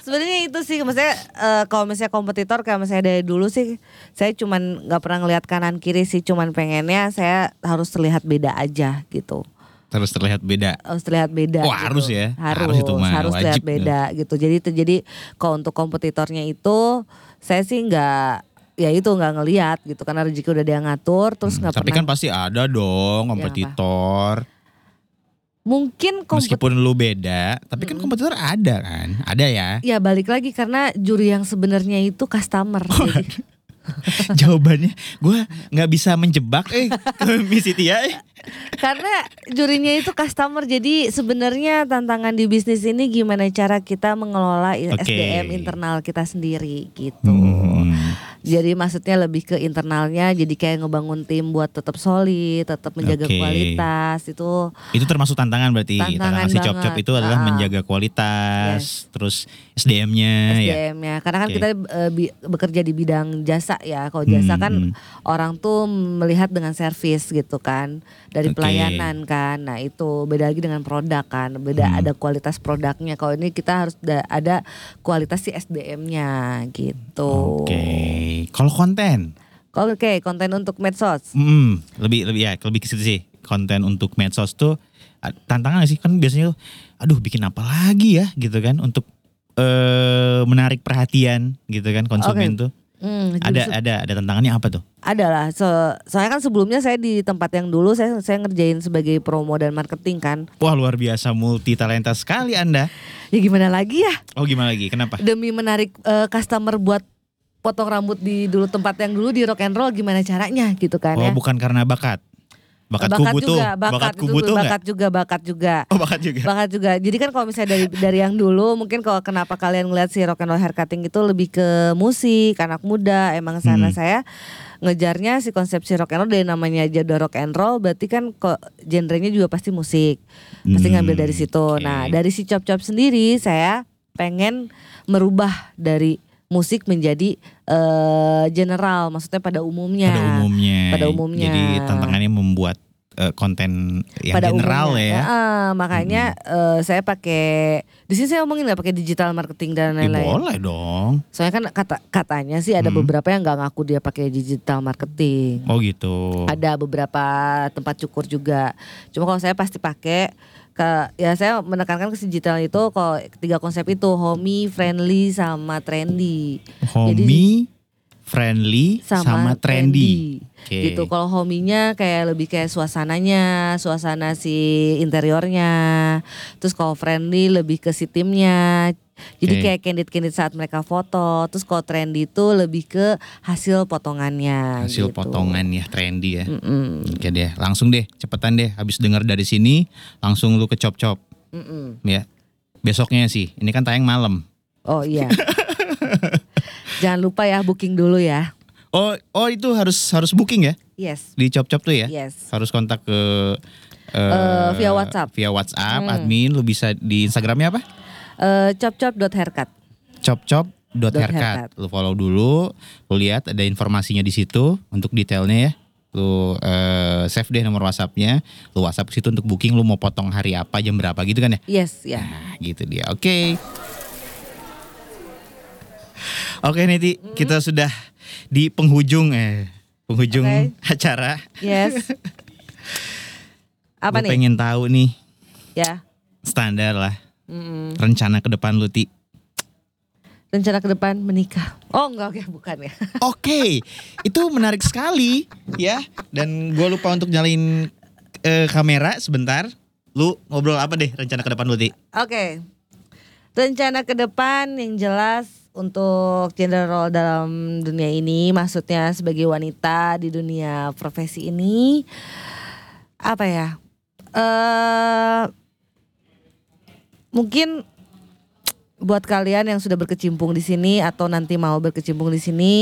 S2: Sebenarnya itu sih maksudnya eh, kalau misalnya kompetitor kayak misalnya dari dulu sih saya cuman nggak pernah ngelihat kanan kiri sih cuman pengennya saya harus terlihat beda aja gitu.
S1: Terus terlihat beda.
S2: Harus terlihat beda. gitu.
S1: Oh, harus ya?
S2: Harus
S1: Harus itu mah,
S2: harus terlihat
S1: wajib ya.
S2: beda gitu. Jadi itu- jadi kalau untuk kompetitornya itu saya sih nggak ya itu nggak ngelihat gitu karena rezeki
S1: kan
S2: udah dia ngatur terus nggak
S1: Hmm,
S2: Iya,
S1: Tapi
S2: pernah
S1: kan pasti ada dong kompetitor.
S2: mungkin kompet
S1: Meskipun lu beda, tapi kan kompetitor ada kan? Ada ya.
S2: ya balik lagi karena juri yang sebenarnya itu customer jadi.
S1: Jawabannya gua nggak bisa menjebak eh ke Miss Cynthia, eh.
S2: karena jurinya itu customer jadi sebenarnya tantangan di bisnis ini gimana cara kita mengelola i-
S1: Oke.
S2: SDM internal kita sendiri gitu
S1: Hmm.
S2: jadi maksudnya lebih ke internalnya jadi kayak ngebangun tim buat tetap solid tetap menjaga
S1: Oke.
S2: kualitas itu
S1: Itu termasuk tantangan berarti. Tantangan,
S2: Tantangan
S1: si cop-cop
S2: banget.
S1: itu adalah
S2: Ah.
S1: menjaga kualitas, terus SDM-nya ya.
S2: SDM-nya. Karena kan
S1: Oke.
S2: kita eh, bi- bekerja di bidang jasa ya. Kalau jasa
S1: Hmm,
S2: kan
S1: hmm.
S2: orang tuh melihat dengan servis gitu kan, dari
S1: Oke.
S2: pelayanan kan. Nah, itu beda lagi dengan produk kan. Beda
S1: Hmm.
S2: ada kualitas produknya. Kalau ini kita harus da- ada kualitas si SDM-nya gitu.
S1: Oke. Kalau konten,
S2: Kalau- Oke, konten untuk medsos.
S1: Hmm, lebih lebih ya, lebih ke situ sih. Konten untuk medsos tuh a- tantangan gak sih kan biasanya tuh, aduh bikin apa lagi ya gitu kan untuk eh menarik perhatian gitu kan konsumen
S2: Oke.
S1: tuh.
S2: Hmm, jadi
S1: Ada eh. ada ada tantangannya apa tuh?
S2: adalah so- soalnya kan sebelumnya saya di tempat yang dulu saya saya ngerjain sebagai promo dan marketing kan.
S1: Wah, luar biasa multi talenta sekali Anda.
S2: Ya gimana lagi ya?
S1: Oh, gimana lagi? Kenapa?
S2: demi menarik eh, customer buat potong rambut di dulu tempat yang dulu di rock and roll gimana caranya gitu kan
S1: Oh,
S2: ya.
S1: bukan karena bakat. Bakat, kubu tuh.
S2: juga, bakat,
S1: bakat
S2: itu
S1: kubu
S2: tuh,
S1: tuh enggak?
S2: bakat juga, bakat juga.
S1: Oh, bakat juga.
S2: Bakat juga. Jadi kan kalau misalnya dari dari yang dulu mungkin kalau kenapa kalian ngeliat si rock and roll hair cutting itu lebih ke musik, anak muda, emang sana
S1: Hmm.
S2: saya ngejarnya si konsep si rock and roll dari namanya aja udah rock and roll berarti kan kok genrenya juga pasti musik. Pasti
S1: Hmm,
S2: ngambil dari
S1: oke.
S2: situ. Nah, dari si cop-cop sendiri saya pengen merubah dari musik menjadi eh, general, maksudnya pada umumnya.
S1: Pada umumnya.
S2: Pada umumnya.
S1: Jadi tantangannya membuat eh, konten yang
S2: pada
S1: general
S2: umumnya. Ah,
S1: ya. Hmm.
S2: Heeh, makanya eh, saya pakai di sini saya ngomongin nggak pakai digital marketing dan
S1: Ya,
S2: lain-lain.
S1: boleh dong.
S2: Soalnya kan kata katanya sih ada
S1: Hmm.
S2: beberapa yang nggak ngaku dia pakai digital marketing.
S1: Oh gitu.
S2: Ada beberapa tempat cukur juga. Cuma kalau saya pasti pakai ke ya saya menekankan ke si digital itu kalau tiga konsep itu homey, friendly sama trendy.
S1: Homey, friendly, sama, trendy. Oke.
S2: Gitu. Kalau hominya kayak lebih kayak suasananya, suasana si interiornya. Terus kalau friendly lebih ke si timnya.
S1: Oke.
S2: Jadi kayak candid-candid saat mereka foto. Terus kalau trendy itu lebih ke hasil potongannya.
S1: Hasil
S2: gitu. Hmm.
S1: potongan ya trendy ya.
S2: Mm-mm,
S1: Oke deh, langsung deh, cepetan deh. Habis dengar dari sini, langsung lu ke chop chop
S2: mm-mm.
S1: ya. Besoknya sih, ini kan tayang malam.
S2: Oh iya. Jangan lupa ya booking dulu ya.
S1: Oh, oh itu harus harus booking ya
S2: Yes.
S1: di chop chop tuh ya.
S2: Yes.
S1: Harus kontak ke eh,
S2: Eh, via WhatsApp.
S1: Via WhatsApp,
S2: Hmm.
S1: admin lu bisa di Instagramnya apa?
S2: Eh chop-chop.haircut.
S1: chop dot
S2: Haircut.
S1: haircut. Lu follow dulu, lu lihat ada informasinya di situ untuk detailnya ya. Lu eh, save deh nomor WhatsAppnya, lu WhatsApp ke situ untuk booking lu mau potong hari apa, jam berapa gitu kan ya.
S2: Yes ya.
S1: Nah, gitu dia. Oke. Oke, Neti,
S2: Hmm.
S1: kita sudah di penghujung eh penghujung
S2: Oke.
S1: acara.
S2: Yes. Apa
S1: Gua
S2: nih?
S1: pengen tahu nih
S2: Ya.
S1: standar lah
S2: Mm-mm.
S1: rencana ke depan lu, Ti.
S2: rencana ke depan menikah. Oh enggak, oke bukan ya.
S1: Oke, itu menarik sekali ya. Dan gue lupa untuk nyalain eh, kamera sebentar. Lu ngobrol apa deh rencana ke depan lu, Ti?
S2: Oke. Rencana ke depan yang jelas untuk gender role dalam dunia ini maksudnya sebagai wanita di dunia profesi ini apa ya? Eh mungkin buat kalian yang sudah berkecimpung di sini atau nanti mau berkecimpung di sini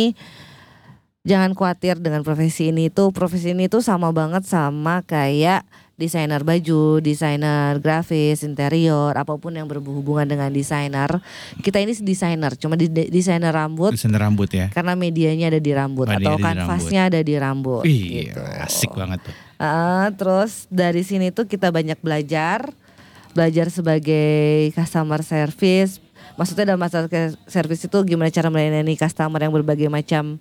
S2: jangan khawatir dengan profesi ini itu profesi ini tuh sama banget sama kayak desainer baju, desainer grafis, interior, apapun yang berhubungan dengan desainer. Kita ini desainer, cuma di de- desainer rambut
S1: Desain rambut ya.
S2: karena medianya ada di rambut
S1: Medianya
S2: atau
S1: ada di
S2: kanvasnya ada di rambut.
S1: Wih,
S2: gitu.
S1: asik banget tuh.
S2: Ah, terus dari sini tuh kita banyak belajar, belajar sebagai customer service. Maksudnya dalam masalah ke- service itu gimana cara melayani customer yang berbagai macam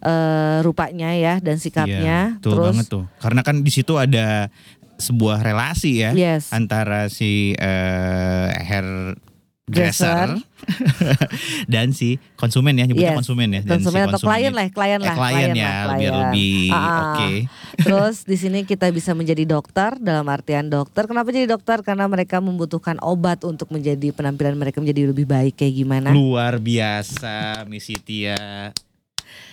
S2: eh, rupanya ya dan
S1: Iya,
S2: sikapnya.
S1: betul
S2: terus
S1: banget tuh. Karena kan di situ ada sebuah relasi ya
S2: yes,
S1: antara si eh, hair dresser dan si konsumen ya nyebutnya
S2: Yes,
S1: konsumen ya dan
S2: konsumen
S1: si
S2: atau klien lah,
S1: Eh,
S2: klien lah,
S1: klien
S2: klien
S1: ya
S2: lah,
S1: biar
S2: klien.
S1: lebih
S2: Ah, ah.
S1: oke
S2: Terus di sini kita bisa menjadi dokter dalam artian dokter. Kenapa jadi dokter? Karena mereka membutuhkan obat untuk menjadi penampilan mereka menjadi lebih baik kayak gimana?
S1: luar biasa Miss Tia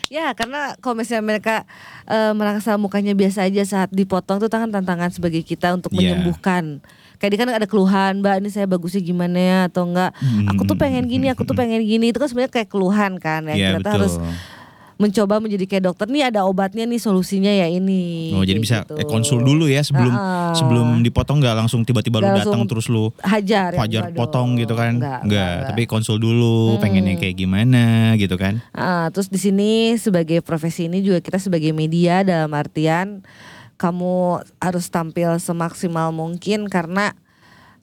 S2: Ya, karena kalau misalnya mereka eh, merasa mukanya biasa aja saat dipotong itu tangan tantangan sebagai kita untuk
S1: Iya.
S2: menyembuhkan. Kayak dia kan ada keluhan, Mbak, ini saya bagusnya gimana ya atau enggak? Aku tuh pengen gini, aku tuh pengen gini. Itu kan sebenarnya kayak keluhan kan ya.
S1: ya
S2: Ternyata
S1: betul
S2: harus mencoba menjadi kayak dokter. Nih ada obatnya nih, solusinya ya ini.
S1: oh jadi
S2: Kayak
S1: bisa
S2: gitu.
S1: eh, konsul dulu ya sebelum
S2: Ah, ah.
S1: sebelum dipotong nggak langsung tiba-tiba lu
S2: Nggak
S1: datang
S2: langsung
S1: terus lu
S2: hajar ya,
S1: fajar
S2: enggak
S1: potong
S2: dong.
S1: gitu kan
S2: Enggak,
S1: nggak
S2: enggak, enggak.
S1: tapi konsul dulu
S2: Hmm.
S1: pengennya kayak gimana gitu kan
S2: Ah, terus di sini sebagai profesi ini juga kita sebagai media dalam artian kamu harus tampil semaksimal mungkin karena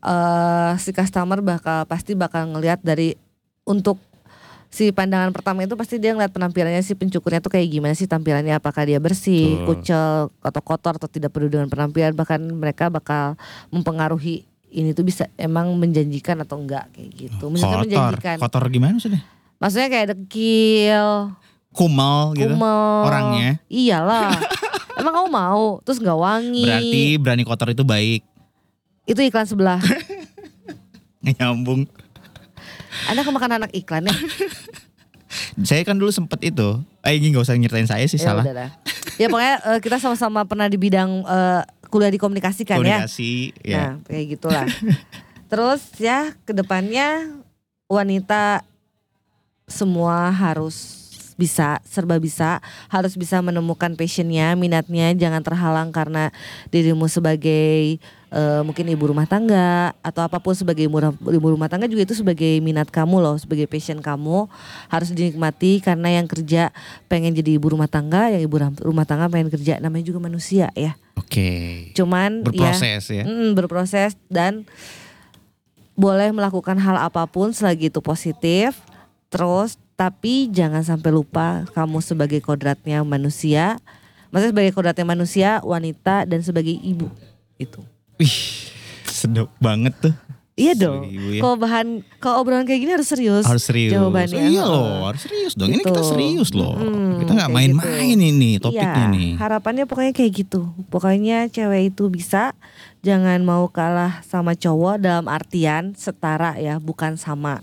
S2: eh si customer bakal pasti bakal ngelihat dari untuk si pandangan pertama itu pasti dia ngeliat penampilannya si pencukurnya tuh kayak gimana sih tampilannya apakah dia bersih,
S1: Betul.
S2: kucel, atau kotor atau tidak peduli dengan penampilan bahkan mereka bakal mempengaruhi ini tuh bisa emang menjanjikan atau enggak kayak gitu. Maksudnya
S1: kotor
S2: menjanjikan.
S1: kotor gimana maksudnya
S2: Maksudnya kayak dekil,
S1: kumal gitu
S2: kumel.
S1: orangnya
S2: Iyalah. Emang kamu mau? Terus nggak wangi.
S1: berarti berani kotor itu baik
S2: itu iklan sebelah.
S1: Nggak nyambung
S2: Anda kemakan anak iklan ya?
S1: saya kan dulu sempet itu eh ini nggak usah nyertain saya sih
S2: ya
S1: salah
S2: udah dah. Ya pokoknya eh, kita sama-sama pernah di bidang eh, kuliah di komunikasi kan ya.
S1: komunikasi ya
S2: Nah, kayak gitulah. Terus ya kedepannya wanita semua harus bisa serba bisa harus bisa menemukan passionnya minatnya jangan terhalang karena dirimu sebagai eh, mungkin ibu rumah tangga atau apapun sebagai ibu, ru- ibu rumah tangga juga itu sebagai minat kamu loh sebagai passion kamu harus dinikmati karena yang kerja pengen jadi ibu rumah tangga yang ibu ram- rumah tangga pengen kerja namanya juga manusia ya
S1: oke
S2: cuman ya
S1: berproses ya,
S2: Mm, berproses dan boleh melakukan hal apapun selagi itu positif. Terus tapi jangan sampai lupa kamu sebagai kodratnya manusia, maksudnya sebagai kodratnya manusia, wanita dan sebagai ibu Gitu. itu.
S1: Wih, sedap banget tuh.
S2: Iya
S1: Sebagai
S2: dong.
S1: ibu ya.
S2: Kalau bahan, kalau obrolan kayak gini harus serius.
S1: Harus serius.
S2: Jawabannya.
S1: Iya loh, harus serius dong. Ini
S2: Gitu.
S1: kita serius loh.
S2: Mm-mm,
S1: kita nggak
S2: kayak gitu.
S1: main-main ini topiknya
S2: Iya,
S1: nih.
S2: Harapannya pokoknya kayak gitu. Pokoknya cewek itu bisa jangan mau kalah sama cowok dalam artian setara ya, bukan sama.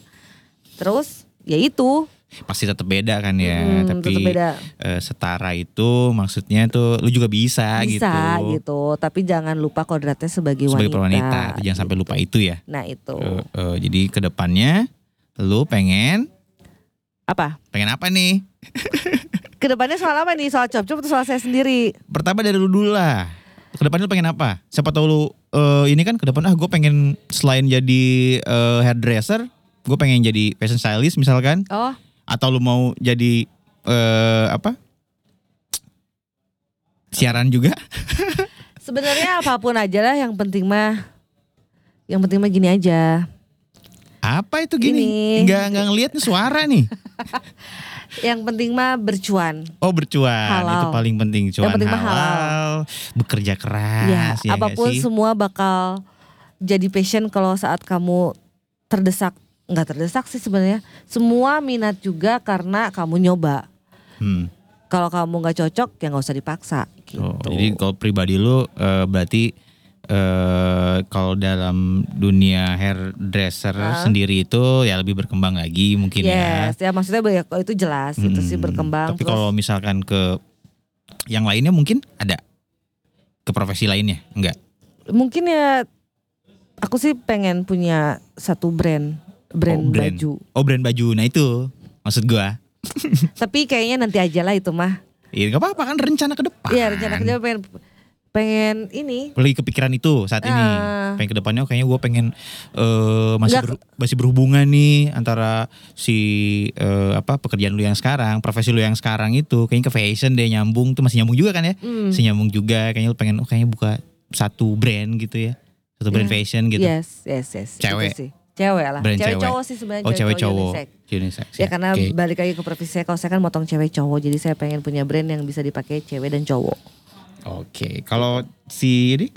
S2: Terus ya itu
S1: Pasti tetap beda kan ya.
S2: Hmm,
S1: Tapi
S2: tetap beda
S1: eh, setara itu maksudnya tuh lu juga bisa, gitu.
S2: bisa gitu. Tapi jangan lupa kodratnya sebagai,
S1: Sebagai
S2: wanita.
S1: wanita, tapi jangan sampai lupa itu ya.
S2: Nah itu
S1: Eh, eh, jadi kedepannya lu pengen
S2: apa?
S1: pengen apa nih?
S2: Kedepannya soal apa nih? Soal cop-cop atau soal saya sendiri?
S1: Pertama dari lu dulu lah. Kedepannya lu pengen apa? Siapa tahu lu eh, ini kan kedepan ah gue pengen selain jadi eh, hairdresser, gue pengen jadi fashion stylist misalkan.
S2: Oh,
S1: atau lu mau jadi eh apa siaran juga
S2: sebenarnya apapun aja lah. Yang penting mah, yang penting mah gini aja.
S1: apa itu gini
S2: Ini.
S1: nggak nggak ngelihat nih suara nih
S2: Yang penting mah bercuan.
S1: oh bercuan
S2: Halal.
S1: itu paling penting cuan
S2: penting mah
S1: halal, bekerja
S2: Ya,
S1: keras ya, nggak
S2: apapun
S1: sih?
S2: semua bakal jadi passion kalau saat kamu terdesak nggak terdesak sih sebenarnya semua minat juga karena kamu nyoba
S1: Hmm.
S2: kalau kamu nggak cocok ya nggak usah dipaksa gitu
S1: Oh, jadi kalau pribadi lu eh, berarti eh kalau dalam dunia hairdresser
S2: Hah?
S1: sendiri itu ya lebih berkembang lagi mungkin ya
S2: yes ya maksudnya banyak- itu jelas itu sih
S1: Mm-mm.
S2: berkembang
S1: Tapi
S2: terus
S1: kalau misalkan ke yang lainnya mungkin ada ke profesi lainnya, enggak?
S2: mungkin ya aku sih pengen punya satu brand
S1: Oh,
S2: brand,
S1: brand.
S2: baju
S1: Oh brand baju, nah itu maksud gua.
S2: tapi kayaknya nanti aja lah itu mah
S1: Iya nggak apa-apa kan rencana ke depan.
S2: Iya rencana kerja pengen pengen ini
S1: Lagi kepikiran itu saat ini.
S2: Ah.
S1: Pengen ke depannya oh, kayaknya gua pengen eh, masih
S2: Enggak.
S1: ber- masih berhubungan nih antara si eh, apa pekerjaan lu yang sekarang, profesi lu yang sekarang itu kayaknya ke fashion deh nyambung tuh masih nyambung juga kan ya?
S2: Hmm.
S1: Masih nyambung juga kayaknya lu pengen oh kayaknya buka satu brand gitu ya. Satu brand
S2: Iya.
S1: fashion gitu.
S2: Yes, yes, yes. Itu
S1: Cewek.
S2: sih. Cewek lah.
S1: Brand
S2: cewek,
S1: cewek.
S2: cowok sih sebenarnya.
S1: Oh cewek cowok
S2: unisex.
S1: unisex.
S2: Ya karena
S1: Oke.
S2: balik lagi ke profesi saya, kalau saya kan motong cewek cowok, jadi saya pengen punya brand yang bisa dipakai cewek dan cowok.
S1: Oke, kalau si ini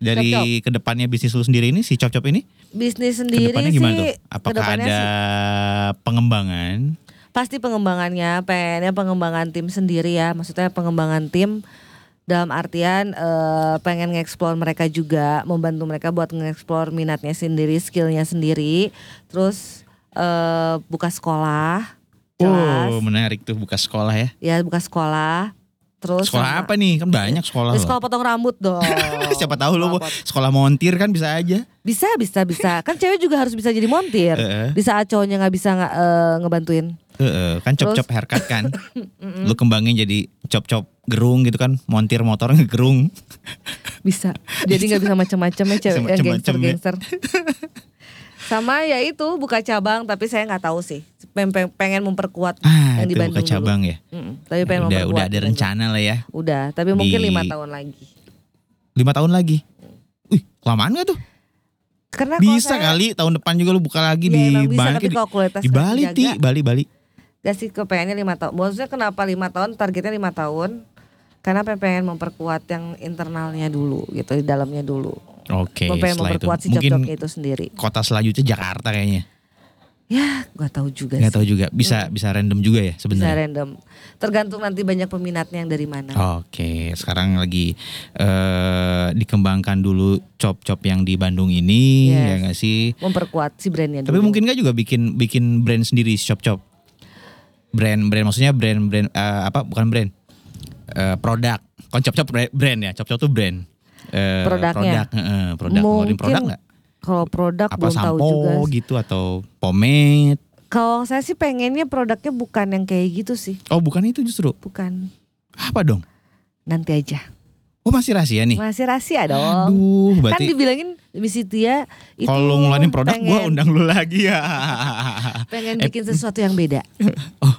S1: dari kedepannya bisnis lu sendiri ini si cop-cop ini
S2: bisnis sendiri
S1: kedepannya
S2: sih
S1: gimana tuh? Apakah
S2: kedepannya
S1: ada
S2: sih
S1: pengembangan?
S2: pasti pengembangannya pengennya pengembangan tim sendiri ya maksudnya pengembangan tim dalam artian eh, pengen nge-explore mereka juga membantu mereka buat nge-explore minatnya sendiri skillnya sendiri terus eh, buka sekolah jelas
S1: Oh menarik tuh buka sekolah ya.
S2: ya buka sekolah terus
S1: Sekolah
S2: Oh, sama-
S1: apa nih? Kan banyak sekolah.
S2: Ya,
S1: loh.
S2: sekolah potong rambut dong
S1: Siapa tahu lu
S2: Sekolah
S1: mau- sekolah montir kan bisa aja.
S2: Bisa, bisa, bisa. Kan cewek juga harus bisa jadi montir.
S1: Heeh.
S2: Di saat cowoknya nggak bisa nggak, eh, ngebantuin.
S1: Heeh, kan cop-cop haircut kan. lu kembangin jadi cop-cop gerung gitu kan, montir motor ngegerung.
S2: Bisa. Jadi nggak bisa macam-macam ya
S1: Bisa
S2: cewek ya,
S1: macem-macem ya.
S2: gangster-gangster. Sama ya itu buka cabang tapi saya nggak tahu sih. Peng- peng- Pengen memperkuat
S1: Ah,
S2: yang di
S1: itu buka
S2: Bandung dulu.
S1: cabang ya.
S2: Mm-mm, tapi pengen
S1: udah
S2: memperkuat. gitu.
S1: udah ada rencana lah ya.
S2: Udah, tapi mungkin
S1: Di-
S2: lima tahun lagi.
S1: Lima tahun lagi. Wih, kelamaan gak tuh?
S2: Karena kalau
S1: Bisa
S2: saya-
S1: kali tahun depan juga lu buka lagi
S2: Ya,
S1: di
S2: emang bisa,
S1: Bangkit,
S2: tapi
S1: di-
S2: kalau kualitas
S1: di Bali,
S2: terjaga.
S1: Ti, Bali, Bali.
S2: Gak sih kepengennya lima tahun. Maksudnya kenapa lima tahun? Targetnya lima tahun. Karena pe- pengen memperkuat yang internalnya dulu gitu, di dalamnya dulu.
S1: Oke,
S2: pengen
S1: setelah itu
S2: memperkuat si
S1: mungkin
S2: job-jobnya itu sendiri.
S1: kota selanjutnya Jakarta kayaknya.
S2: Ya, gak tahu juga
S1: Nggak
S2: sih.
S1: tahu juga. Bisa bisa random juga ya
S2: Bisa
S1: sebenarnya.
S2: random. Tergantung nanti banyak peminatnya yang dari mana.
S1: Oke, sekarang lagi eh dikembangkan dulu cop-cop yang di Bandung ini
S2: Yes.
S1: ya nggak sih?
S2: Memperkuat si brandnya
S1: Tapi
S2: dulu.
S1: mungkin nggak juga bikin bikin brand sendiri si cop-cop. Brand brand maksudnya brand brand eh, apa? Bukan brand. Eh produk. Kan cop-cop bra- brand ya. Cop-cop tuh brand. Eh,
S2: Produknya.
S1: Produk, eh, produk. Ngeluarin produk nggak?
S2: Kalau produk
S1: Apa
S2: belum tahu juga.
S1: sampo gitu atau pomade?
S2: Kalau saya sih pengennya produknya bukan yang kayak gitu sih.
S1: Oh, bukan itu justru.
S2: Bukan.
S1: Apa dong?
S2: Nanti aja.
S1: Oh, masih rahasia nih.
S2: Masih rahasia dong.
S1: Aduh,
S2: kan
S1: berarti
S2: dibilangin Miss Cynthia itu
S1: kalau lu ngeluarin produk
S2: pengen,
S1: gue undang lu lagi ya.
S2: pengen bikin sesuatu yang beda.
S1: oh,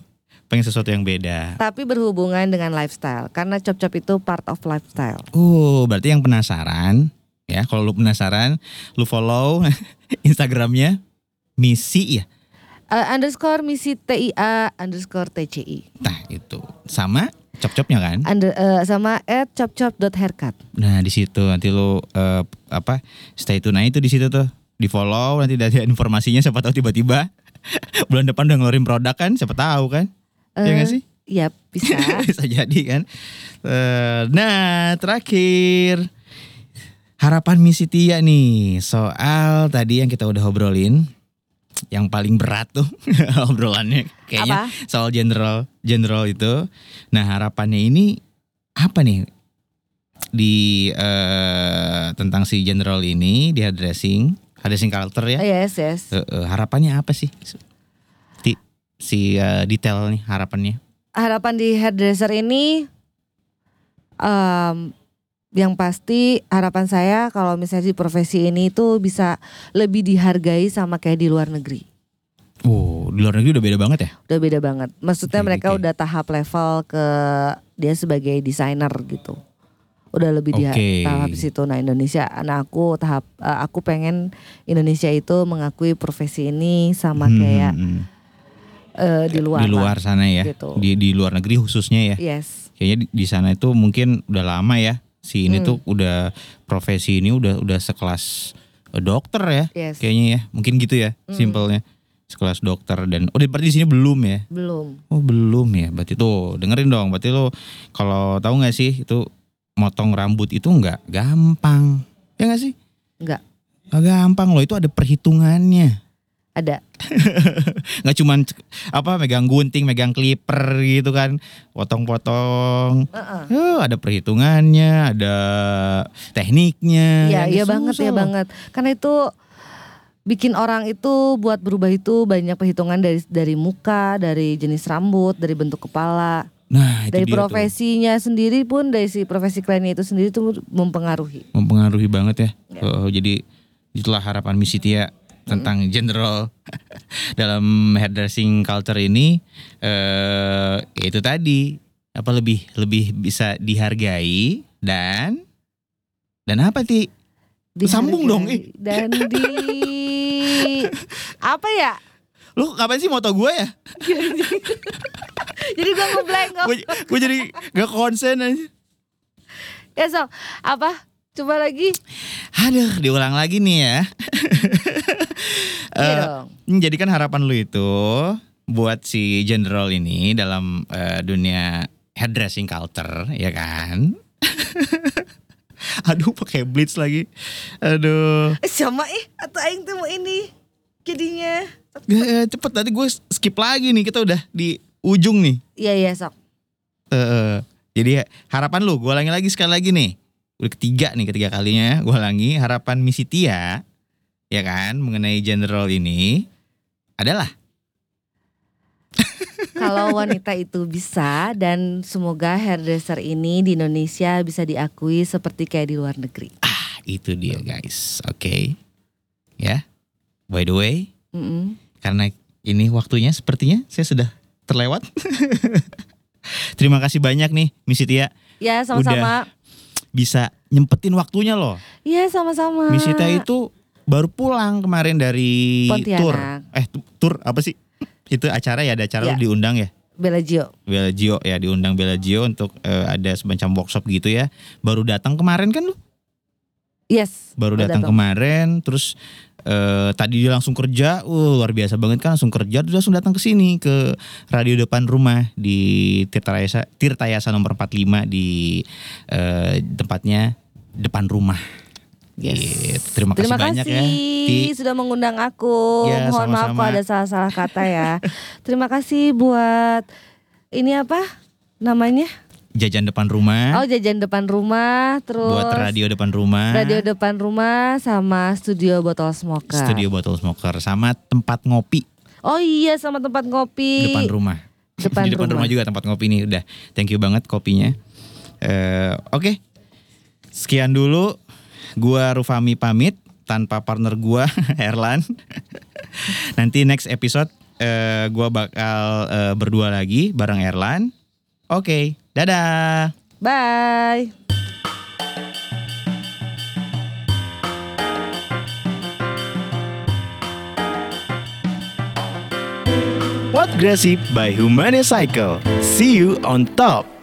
S1: pengen sesuatu yang beda.
S2: Tapi berhubungan dengan lifestyle karena cop-cop itu part of lifestyle.
S1: Oh, berarti yang penasaran ya, kalau lu penasaran, lu follow Instagramnya Misi ya.
S2: Eh, underscore misi TIA underscore TCI
S1: Nah, itu. Sama cop-copnya kan.
S2: Under, eh, sama at chopchop.haircut
S1: Nah, di situ nanti lu eh, apa? Stay tune aja itu di situ tuh. Di follow nanti ada informasinya siapa tahu tiba-tiba bulan depan udah ngeluarin produk kan, siapa tahu kan. Iya nggak
S2: Eh,
S1: sih?
S2: Iya bisa
S1: bisa jadi kan. Eh, Nah terakhir harapan misi Tia nih soal tadi yang kita udah obrolin yang paling berat tuh obrolannya kayaknya
S2: Apa?
S1: soal general general itu. Nah harapannya ini apa nih di eh, tentang si general ini dia dressing ada dressing karakter ya.
S2: Eh, Yes yes
S1: Eh, eh, harapannya apa sih? Ti, si eh, detail nih harapannya.
S2: Harapan di hairdresser ini em, Yang pasti harapan saya kalau misalnya di profesi ini tuh bisa lebih dihargai sama kayak di luar negeri
S1: Wow, Oh, di luar negeri udah beda banget ya?
S2: Udah beda banget Maksudnya
S1: Oke,
S2: mereka
S1: oke.
S2: udah tahap level ke dia sebagai desainer gitu udah lebih di
S1: Oke.
S2: tahap situ. Nah Indonesia, nah aku tahap eh, aku pengen Indonesia itu mengakui profesi ini sama
S1: Hmm,
S2: kayak
S1: hmm.
S2: eh, di luar.
S1: di luar
S2: lah.
S1: sana ya,
S2: Gitu.
S1: di di luar negeri khususnya ya.
S2: Yes.
S1: Kayaknya di, di sana itu mungkin udah lama ya. Si ini
S2: Hmm.
S1: tuh udah profesi ini udah udah sekelas eh, dokter ya,
S2: Yes.
S1: kayaknya ya. Mungkin gitu ya,
S2: Hmm.
S1: simpelnya sekelas dokter dan oh di- berarti di sini belum ya?
S2: Belum.
S1: Oh belum ya, berarti tuh dengerin dong. Berarti lo kalau tahu nggak sih itu motong rambut itu nggak gampang, ya nggak sih?
S2: Enggak.
S1: Nggak gampang loh, itu ada perhitungannya.
S2: Ada.
S1: nggak cuman c- apa megang gunting, megang clipper gitu kan, potong-potong.
S2: Heeh.
S1: Eh, ada perhitungannya, ada tekniknya.
S2: Iya,
S1: Ada
S2: iya banget,
S1: Nah, susah
S2: iya
S1: loh.
S2: banget. Karena itu bikin orang itu buat berubah itu banyak perhitungan dari dari muka, dari jenis rambut, dari bentuk kepala,
S1: Nah, itu
S2: dari
S1: dia tuh.
S2: profesinya sendiri pun dari si profesi kliennya itu sendiri itu mempengaruhi.
S1: mempengaruhi banget ya.
S2: Iya.
S1: Oh, jadi itulah harapan misi Tia tentang general dalam hairdressing culture ini eh ya itu tadi apa lebih lebih bisa dihargai dan dan apa Ti? Sambung dong,
S2: Dihargai. Dan di apa ya?
S1: Lu kapan sih moto gue ya?
S2: Jadi gua ngeblank.
S1: gue jadi gak konsen aja.
S2: Ya so, apa? Coba lagi.
S1: Aduh, diulang lagi nih ya.
S2: Iya
S1: Eh,
S2: dong.
S1: jadi kan harapan lu itu buat si general ini dalam eh, dunia hairdressing culture, ya kan? Aduh, pakai blitz lagi. Aduh,
S2: Eh, Sama ih atau aing tuh mau ini. Jadinya.
S1: Eh, cepet nanti gue skip lagi nih. Kita udah di ujung nih.
S2: Iya iya sok.
S1: Eh, eh. jadi harapan lu, gue ulangi lagi sekali lagi nih. Udah ketiga nih, ketiga kalinya gue ulangi harapan Misi Tia, ya kan, mengenai general ini adalah
S2: Kalau wanita itu bisa dan semoga hairdresser ini di Indonesia bisa diakui seperti kayak di luar negeri.
S1: ah, itu dia guys, oke, ya. By the way,
S2: Mm-mm.
S1: karena ini waktunya sepertinya saya sudah terlewat. Terima kasih banyak nih Misi Tia
S2: Ya sama-sama.
S1: bisa nyempetin waktunya loh.
S2: Iya sama-sama.
S1: Misi Tia itu baru pulang kemarin dari
S2: Ah. Pontianak.
S1: tour. Eh, tu- tour apa sih? Itu acara ya, ada acara
S2: Ya.
S1: lu diundang ya.
S2: Bella Gio.
S1: Bella Gio ya diundang Bella Gio untuk eh, ada semacam workshop gitu ya. Baru datang kemarin kan lu?
S2: Yes.
S1: Baru
S2: Baru
S1: datang
S2: datang.
S1: kemarin terus eh, tadi dia langsung kerja. Uh, luar biasa banget kan langsung kerja terus langsung datang ke sini ke radio depan rumah di Tirtayasa Tirtayasa nomor 45 di eh, tempatnya depan rumah.
S2: Yes.
S1: Gitu. Terima kasih banyak ya. Ti.
S2: kasih sudah mengundang aku.
S1: Ya,
S2: Mohon maaf
S1: sama-sama.
S2: kalau ada salah-salah kata ya. Terima kasih buat ini apa namanya?
S1: Jajan depan rumah
S2: Oh jajan depan rumah, terus
S1: buat radio depan rumah.
S2: radio depan rumah sama studio botol smoker.
S1: Studio Bottle Smoker sama tempat ngopi
S2: Oh iya sama tempat ngopi.
S1: depan rumah.
S2: Depan
S1: Di depan rumah.
S2: rumah.
S1: juga tempat ngopi nih udah. Thank you banget kopinya. Eh, Oke, sekian dulu. Gua Rufami pamit tanpa partner gua Erlan. Nanti next episode eh, gua bakal eh, berdua lagi bareng Erlan. Oke, dadah.
S2: Bye.
S1: What by Humane Cycle. See you on top.